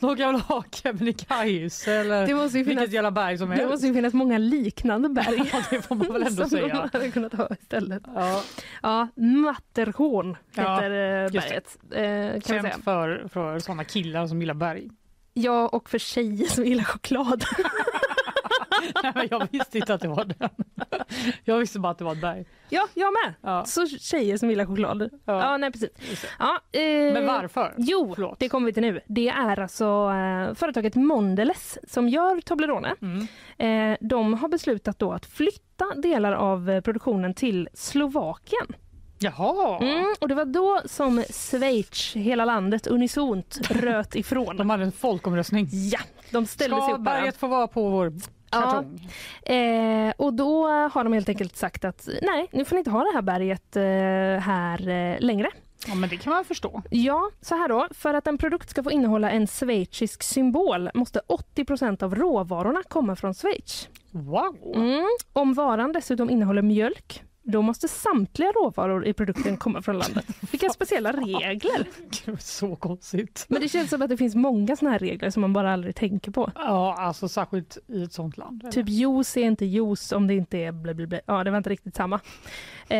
De kan väl ha Kebnekaise eller Det måste ju finnas- vilket jävla berg som Det helst. måste ju finnas många liknande berg. Ja, det får man väl ändå som de säga. hade kunnat ha istället. Ja, Ja, Matterhorn Ja, heter eh, just det. berget. Eh, kan vi säga. känt för, för såna killar som gillar berg. Ja, och för tjejer som gillar choklad. Nej, men jag visste inte att det var den. Jag visste bara att det var ett berg. Ja, jag med. Så tjejer som gillar choklad. Ja, nej precis. Ja, eh, Men varför? Jo, det kommer vi till nu. Det är alltså eh, företaget Mondelez som gör Toblerone. Mm. Eh, de har beslutat då att flytta delar av eh, produktionen till Slovakien. Jaha! Mm, och det var då som Schweiz, hela landet, unisont röt ifrån. De hade en folkomröstning. Ja, de ställde Ska sig upp bara. berget få vara på vår kartong? Eh, och då har de helt enkelt sagt att nej, nu får ni inte ha det här berget eh, här eh, längre. Ja, men det kan man förstå. Ja, så här då. För att en produkt ska få innehålla en schweizisk symbol måste 80 av råvarorna komma från Schweiz. Wow! Mm. Om varan dessutom innehåller mjölk då måste samtliga råvaror i produkten komma från landet. Vilka speciella regler! Gud, så konstigt. Men det känns som att det finns många såna här regler som man bara aldrig tänker på. Ja, alltså särskilt i ett sånt land. eller? Typ juice är inte juice om det inte är bla bla bla. Ja, det var inte riktigt samma. Eh,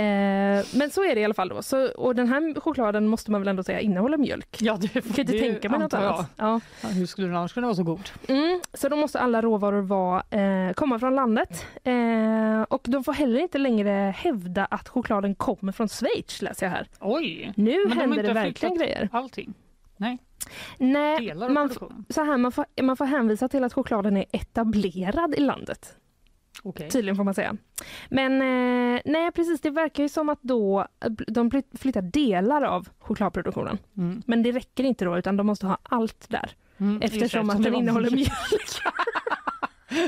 men så är det i alla fall då. Så, och den här chokladen måste man väl ändå säga innehåller mjölk? Ja, det, kan ju inte det tänka mig något antar jag. annat. Ja. Ja, hur skulle den annars kunna vara så god? Mm, så då måste alla råvaror vara, eh, komma från landet. Eh, och de får heller inte längre hävda att chokladen kommer från Schweiz läser jag här. Oj! Nu Men de har händer inte det verkligen flyttat grejer. Allting. Nej. Nej, Delar av man, f- produktionen. så här, man, får, man får hänvisa till att chokladen är etablerad i landet. Okej. Tydligen får man säga. Men eh, nej precis, det verkar ju som att då eh, de fly- flyttar delar av chokladproduktionen. Mm. Men det räcker inte då utan de måste ha allt där. Mm, just det, eftersom eftersom att det den var innehåller mjölk. mjölk.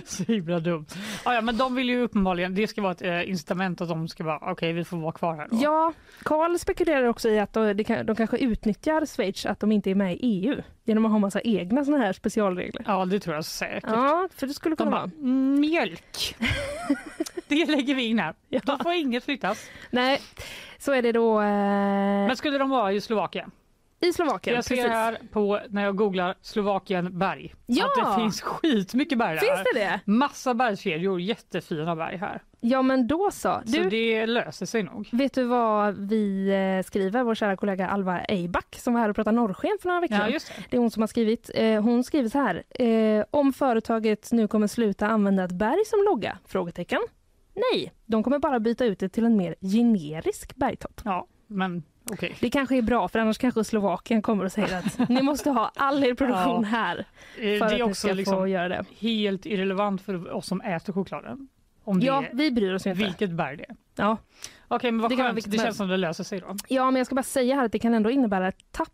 Så himla dumt. Ah, ja, men de vill ju uppenbarligen, det ska vara ett eh, incitament att de ska vara, okej vi får vara kvar här då. Ja, Karl spekulerar också i att de, det kan- de kanske utnyttjar Schweiz att de inte är med i EU genom att ha massa egna såna här specialregler. Ja, det tror jag säkert. Ja, för det skulle De kunna bara, vara. mjölk. det lägger vi in här. Då får inget flyttas. Nej, så är det då eh, Men skulle de vara i Slovakien? i Slovakien. jag ser precis. här på, när jag googlar Slovakien berg Ja! att det finns skitmycket berg där. Finns det det? Massa bergskedjor, jättefina berg här. Ja, men då så. Så Du, det löser sig nog. Vet du vad vi eh, skriver, vår kära kollega Alva Eiback som var här och pratade norrsken för några veckor Ja, sedan. just det. det är hon som har skrivit. Eh, Hon skriver så här. eh, Om företaget nu kommer sluta använda ett berg som logga? Frågetecken. Nej, de kommer bara byta ut det till en mer generisk bergtopp. Ja, men okej. Det kanske är bra för annars kanske Slovakien kommer och säger att ni måste ha all er produktion Ja. här Eh, Det för att är ni också ska få liksom göra det. helt irrelevant för oss som äter chokladen. Om det Ja, är vi bryr oss ju inte. vilket berg det är. Ja. Okej, men vad Det det kan vara skönt. vilket Det berg. känns som det löser sig då. Ja, men jag ska bara säga här att det kan ändå innebära ett tapp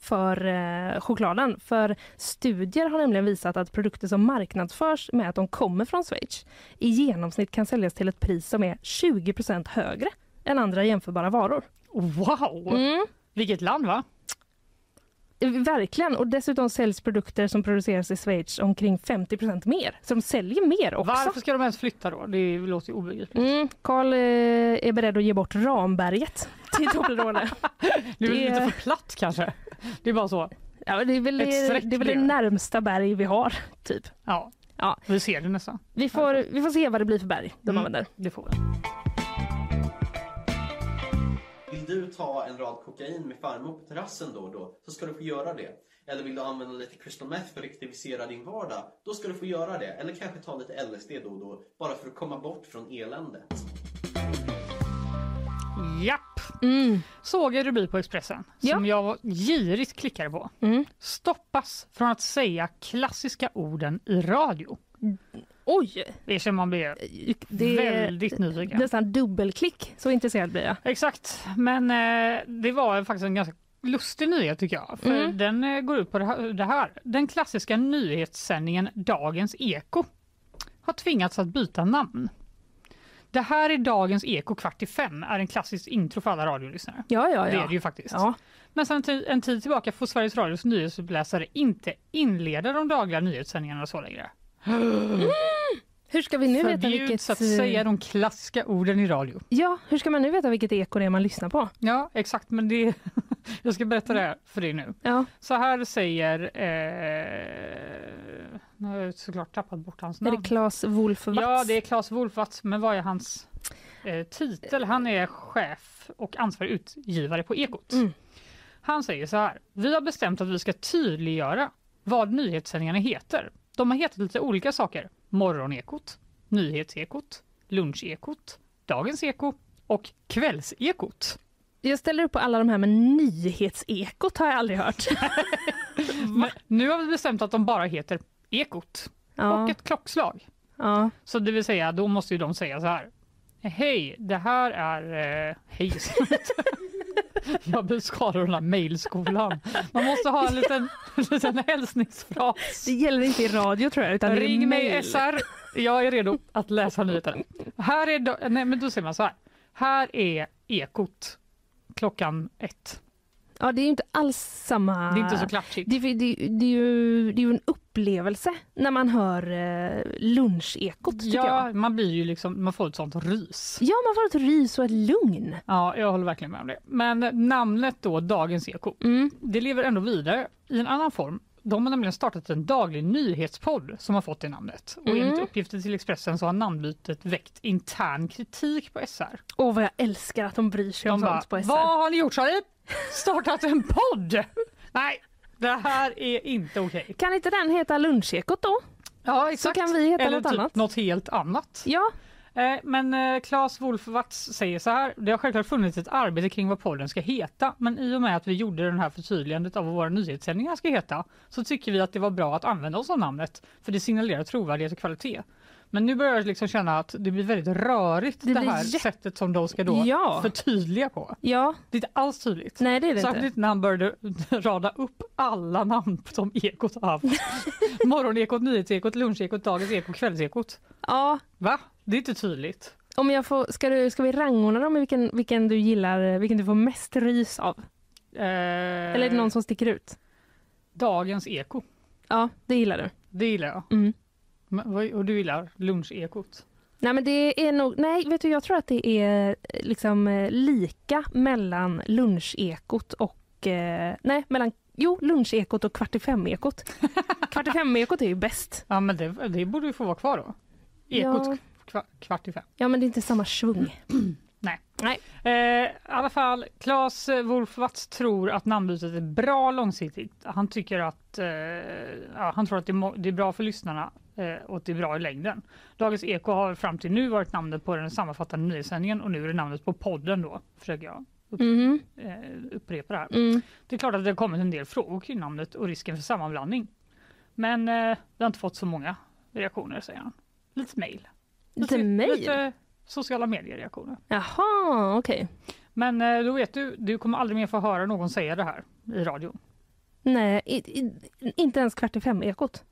för eh, chokladen. För studier har nämligen visat att produkter som marknadsförs med att de kommer från Schweiz i genomsnitt kan säljas till ett pris som är 20 högre än andra jämförbara varor. Wow! Mm. Vilket land va? Verkligen, och dessutom säljs produkter som produceras i Schweiz omkring 50 mer. Så de säljer mer också. Varför ska de ens flytta då? Det låter ju obegripligt. Mm, Carl eh, är beredd att ge bort Ramberget till Toblerone. Det är väl Det- lite för platt kanske? Det är bara så. ja, men det är väl Ett det, streck det, är väl blir det det. närmsta berg vi har, typ. Ja, Ja. vi ser det nästan. Vi får, vi får se vad det blir för berg de Mm. använder. Det får vi. Vill du ta en rad kokain med farmor på terrassen då och då så ska du få göra det. Eller vill du använda lite crystal meth för att rektivisera din vardag? Då ska du få göra det. Eller kanske ta lite LSD då och då bara för att komma bort från eländet. Japp! Mm. Såg en rubrik på Expressen som jag girigt klickade på. Mm. Stoppas från att säga klassiska orden i radio. Oj! Det känner man blir Det är väldigt nyfiken. nästan dubbelklick. Så intresserad blir jag. Exakt, men eh, det var faktiskt en ganska lustig nyhet tycker jag. För Mm. den eh, går ut på det här, det här. Den klassiska nyhetssändningen Dagens Eko har tvingats att byta namn. Det här är Dagens Eko kvart i fem, är en klassisk intro för alla radiolyssnare. Ja, ja, ja. Det är det ju faktiskt. Ja. Men sen ti- en tid tillbaka får Sveriges Radios nyhetsuppläsare inte inleda de dagliga nyhetssändningarna så längre. Hur ska vi nu veta vilket... eh, Förbjuds att säga de klassiska orden i radio. Ja, hur ska man nu veta vilket eko det är man lyssnar på? Ja, exakt. Men det... jag ska berätta det här för dig nu. Ja. Så här säger... Eh... Nu har jag såklart tappat bort hans Är namn. det Claes Wolf Watz? Ja, det är Claes Wolfvatz. Men vad är hans eh, titel? Han är chef och ansvarig utgivare på Ekot. Mm. Han säger så här. Vi har bestämt att vi ska tydliggöra vad nyhetssändningarna heter. De har hetat lite olika saker. Morgonekot, Nyhetsekot, Lunchekot, Dagens Eko och Kvällsekot. Jag ställer upp på alla de här med nyhetsekot har jag aldrig hört. Men nu har vi bestämt att de bara heter Ekot Ja. och ett klockslag. Ja. Så det vill säga, då måste ju de säga så här. Hej, det här är... Eh, hej, Jag blir skadad av den här mejlskolan. Man måste ha en liten, en liten hälsningsfras. Det gäller inte i radio tror jag utan det är Ring mig mail. SR, jag är redo att läsa nyheterna. Här är, då, nej men då säger man så här. Här är Ekot klockan ett. Ja, det är ju inte alls samma... Det är inte så klatschigt. Ah. Det, det, det, är, ju, det är ju en upplevelse när man hör eh, lunchekot tycker Ja, jag. man blir ju liksom, man får ett sånt rys. Ja, man får ett rys och ett lugn. Ja, jag håller verkligen med om det. Men namnet då, Dagens Eko, Mm. det lever ändå vidare i en annan form. De har nämligen startat en daglig nyhetspodd som har fått det namnet. Och Mm. enligt uppgifter till Expressen så har namnbytet väckt intern kritik på SR. Åh, vad jag älskar att de bryr sig om De bara, sånt på SR. vad har ni gjort sa ni? Startat en podd? Nej, det här är inte okej. Kan inte den heta lunchekot då? Ja, Så kan vi heta Eller något typ annat. något helt annat. Ja. Men eh, Claes Wolfwatz säger så här. Det har självklart funnits ett arbete kring vad podden ska heta men i och med att vi gjorde den här förtydligandet av vad våra nyhetssändningar ska heta så tycker vi att det var bra att använda oss av namnet för det signalerar trovärdighet och kvalitet. Men nu börjar jag liksom känna att det blir väldigt rörigt det, Det blir här jätte- sättet som de ska då Ja. förtydliga på. Ja. Det är inte alls tydligt. Nej, det är det Särskilt inte. när han började rada upp alla namn som Ekot har haft. Morgonekot, nyhetsekot, lunchekot, dagens eko, kvällsekot. Ja. Va? Det är inte tydligt. Om jag får, ska, du, ska vi rangordna dem i vilken, vilken du gillar, eh, vilken du får mest rys av? Eller är det någon som sticker ut? Eh, Dagens eko, Ja, det gillar du. det gillar jag. Mm. Men, vad- och du gillar lunchekot? Nej, men det är nog, nej, vet du, jag tror att det är eh, liksom eh, lika mellan lunchekot och, eh, nej, mellan, jo, lunchekot och kvart i fem-ekot. kvart i fem-ekot är ju bäst. Ja men det, det borde ju få vara kvar då. Ekot Ja. kva, kvart i fem. Ja, men det är inte samma Mm. svung. Nej. Nej. Eh, I alla fall, Claes Wolfwatz tror att namnbytet är bra långsiktigt. Han tycker att eh, ja, han tror att det, är må- det är bra för lyssnarna eh, och att det är bra i längden. Dagens Eko har fram till nu varit namnet på den sammanfattande nyhetssändningen och nu är det namnet på podden då, försöker jag upp, Mhm. eh, upprepa det här. Mm. Det är klart att det har kommit en del frågor kring namnet och risken för sammanblandning. Men eh, vi har inte fått så många reaktioner, säger han. Lite mejl. Lite mejl? Lite sociala medier-reaktioner. Jaha, okej. Men eh, då vet du, du kommer aldrig mer få höra någon säga det här i radion. Nej, i, i, inte ens kvart i fem-ekot.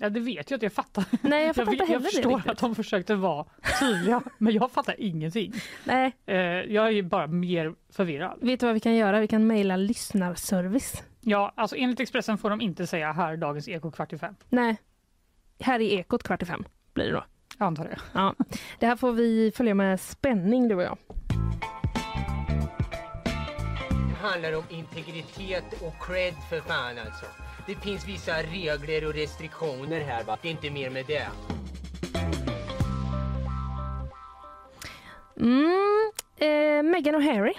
Ja, det vet jag att jag fattar. Nej, jag fattar vet- inte heller jag det förstår riktigt. att de försökte vara tydliga, men jag fattar ingenting. Nej, Eh, jag är ju bara mer förvirrad. vet du vad vi kan göra? Vi kan mejla lyssnarservice. Ja, alltså enligt Expressen får de inte säga här i dagens Eko kvart i fem. Nej, här är ekot kvart i fem blir det då. Jag antar det. Ja, det här får vi följa med spänning du och jag. Det handlar om integritet och cred för fan alltså. Det finns vissa regler och restriktioner här va. Det är inte mer med det. Mm, eh, Meghan och Harry.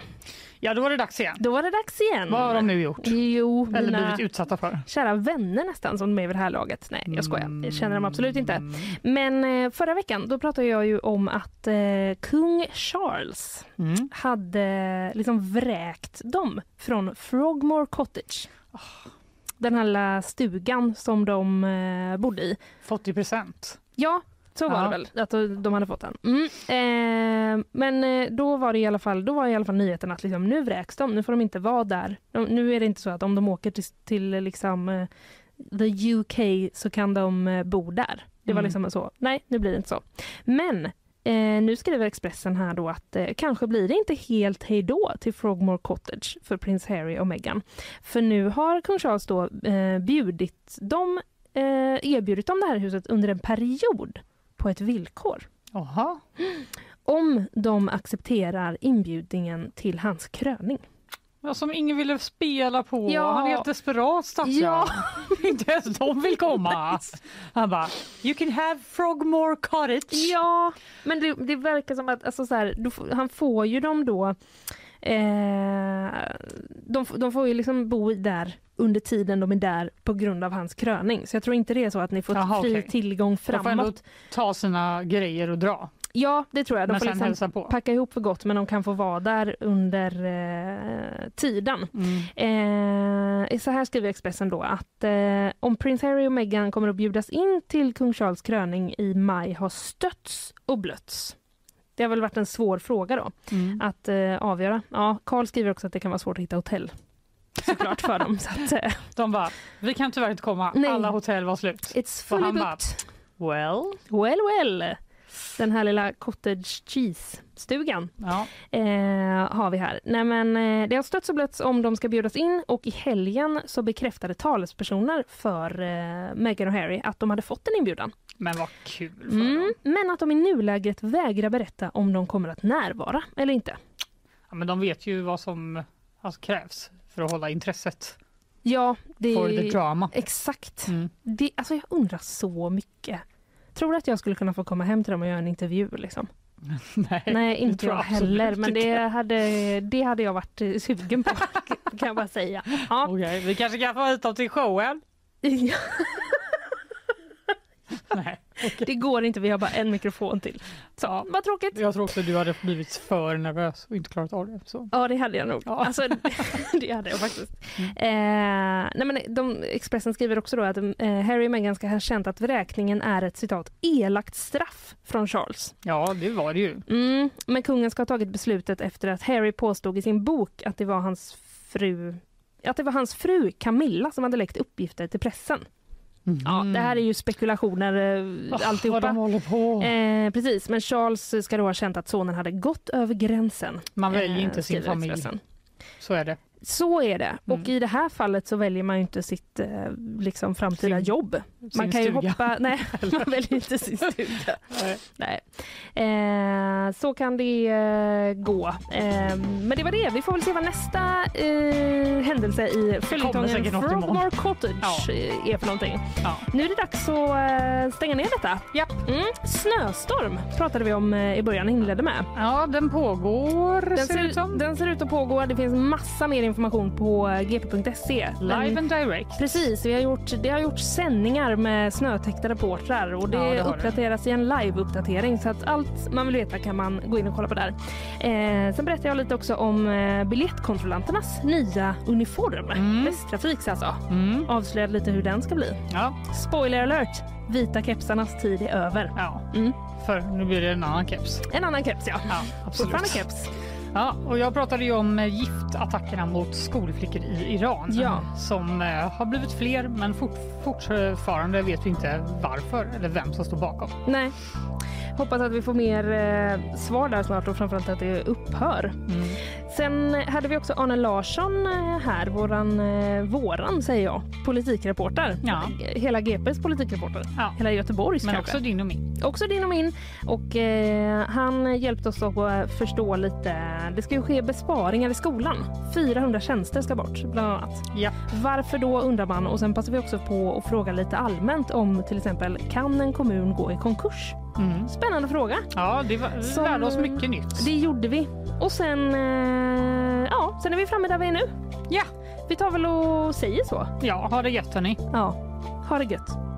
Ja, då var det dags igen. Då var det dags igen. Vad har de nu gjort? Jo, Eller mina blivit utsatta för? kära vänner nästan som de är vid det här laget. Nej, jag skojar. Mm. Jag känner dem absolut inte. Men eh, förra veckan då pratade jag ju om att eh, kung Charles Mm. hade liksom vräkt dem från Frogmore Cottage. Ah. Den här lilla stugan som de eh, bodde i. 40 procent. Ja, så var Ja. det väl. Att de hade fått den. Mm. Eh, men eh, då var det i alla fall, då var i alla fall nyheten att liksom, nu vräks de, nu får de inte vara där. De, nu är det inte så att om de åker till, till eh, liksom, eh, the UK så kan de eh, bo där. Det var Mm. liksom så, nej nu blir det inte så. Men eh, nu skriver Expressen här då att eh, kanske blir det inte helt hejdå till Frogmore Cottage för prins Harry och Meghan. För nu har kung Charles då eh, bjudit dem eh, erbjudit dem det här huset under en period på ett villkor. Aha. Om de accepterar inbjudningen till hans kröning. Ja, som ingen ville spela på. Ja. Han är helt desperat stackarn. Ja. Inte ens de vill komma. Han bara, you can have Frogmore Cottage. Ja, men det, det verkar som att alltså så här, du, får- han får ju dem då eh, de de, f- de får ju liksom bo där under tiden de är där på grund av hans kröning. Så jag tror inte det är så att ni får Jaha, fri okej. tillgång De får ändå framåt. ta sina grejer och dra. Ja, det tror jag. De Men får sen hälsa liksom på. packa ihop för gott men de kan få vara där under eh, tiden. Mm, Eh, så här skriver Expressen då att eh, om prins Harry och Meghan kommer att bjudas in till kung Charles kröning i maj har stötts och blötts. Det har väl varit en svår fråga då mm. att eh, avgöra. Ja, Karl skriver också att det kan vara svårt att hitta hotell såklart för dem. Så att, eh, De bara, vi kan tyvärr inte komma, Nej. alla hotell var slut. It's Och fully han bara, booked. well. Well, well. Den här lilla cottage cheese-stugan eh, har vi här. Nej, men, eh, det har stötts och blötts om de ska bjudas in och i helgen så bekräftade talespersoner för eh, Meghan och Harry att de hade fått en inbjudan. Men vad kul. Mm, men att de i nuläget vägrar berätta om de kommer att närvara eller inte. Ja, men de vet ju vad som alltså, krävs för att hålla intresset. Ja, det For the drama. Mm. Exakt. Det, alltså jag undrar så mycket. Tror du att jag skulle kunna få komma hem till dem och göra en intervju? Liksom? Nej, Nej, det inte tror jag absolut heller. Men inte. det hade, det hade jag varit eh, sugen på, kan jag bara säga. Ja. Okej, vi kanske kan få hit dem till showen? Ja. Det går inte, vi har bara en mikrofon till. Så, Vad tråkigt. Jag tror också du hade blivit för nervös och inte klarat av det. Så. Ja, Mm. det hade jag nog. Alltså, det hade jag faktiskt. Eh, nej, men de, Expressen skriver också då att eh, Harry och Meghan ska ha känt att vräkningen är ett citat elakt straff från Charles. Ja, det var det ju. Mm, men kungen ska ha tagit beslutet efter att Harry påstod i sin bok att det var hans fru att det var hans fru Camilla som hade läckt uppgifter till pressen. Ja, det här är ju spekulationer eh, Ah, alltihopa. Mm. vad de håller på. Eh, precis, men Charles ska då ha känt att sonen hade gått över gränsen. Man väljer inte sin eh, skriver familj. Expressen. Så är det. Så är det. Mm. Och i det här fallet så väljer man ju inte sitt eh, liksom, framtida jobb. Man sin kan ju stuga. hoppa... Nej, man väljer inte sin stuga. nej. Eh, så kan det eh, gå. Eh, men det var det. Vi får väl se vad nästa eh, händelse i följetongen säkert något Frogmore imorgon. Cottage Ja. eh, är för någonting. Nu är det dags att eh, stänga ner detta. Mm. Snöstorm pratade vi om eh, i början, inledde med. Ja, den pågår den ser ut som. Den ser ut att pågå. Det finns massa mer information på eh, gp.se. Live and direct. Precis, vi har gjort, det har gjort sändningar med snötäckta reportrar och det, Ja, det har det. uppdateras i en live-uppdatering så att allt man vill veta kan man gå in och kolla på där. Eh, sen berättar jag lite också om eh, biljettkontrollanternas nya uniform. Mm. Västtrafiks alltså. Avslöjade lite hur den ska bli. Spoiler alert! Vita kepsarnas tid är över. Mm. För nu blir det en annan keps. En annan keps, ja. absolut. Fortfarande keps. Ja, och jag pratade ju om eh, giftattackerna mot skolflickor i Iran Ja. som eh, har blivit fler men fort, fortfarande vet vi inte varför eller vem som står bakom. Nej. Hoppas att vi får mer eh, svar där snart och framförallt att det upphör. Mm. Sen hade vi också Arne Larsson eh, här, våran, eh, våran säger jag, politikreporter. Ja. Hela GPs politikreporter. Hela Göteborgs Men kanske. också din och min. Också din och min. Och, eh, han hjälpte oss att eh, förstå lite. Det ska ju ske besparingar i skolan. 400 tjänster ska bort, bland annat. Varför då, undrar man. Och Sen passar vi också på att fråga lite allmänt om till exempel kan en kommun gå i konkurs? Mm. Spännande fråga. Ja, det var, vi Som- lärde oss mycket nytt. Det gjorde vi. Och sen, eh, ja, sen är vi framme där vi är nu. Ja. Vi tar väl och säger så. Ja, ha det gött hörni. Ja, ha det gött.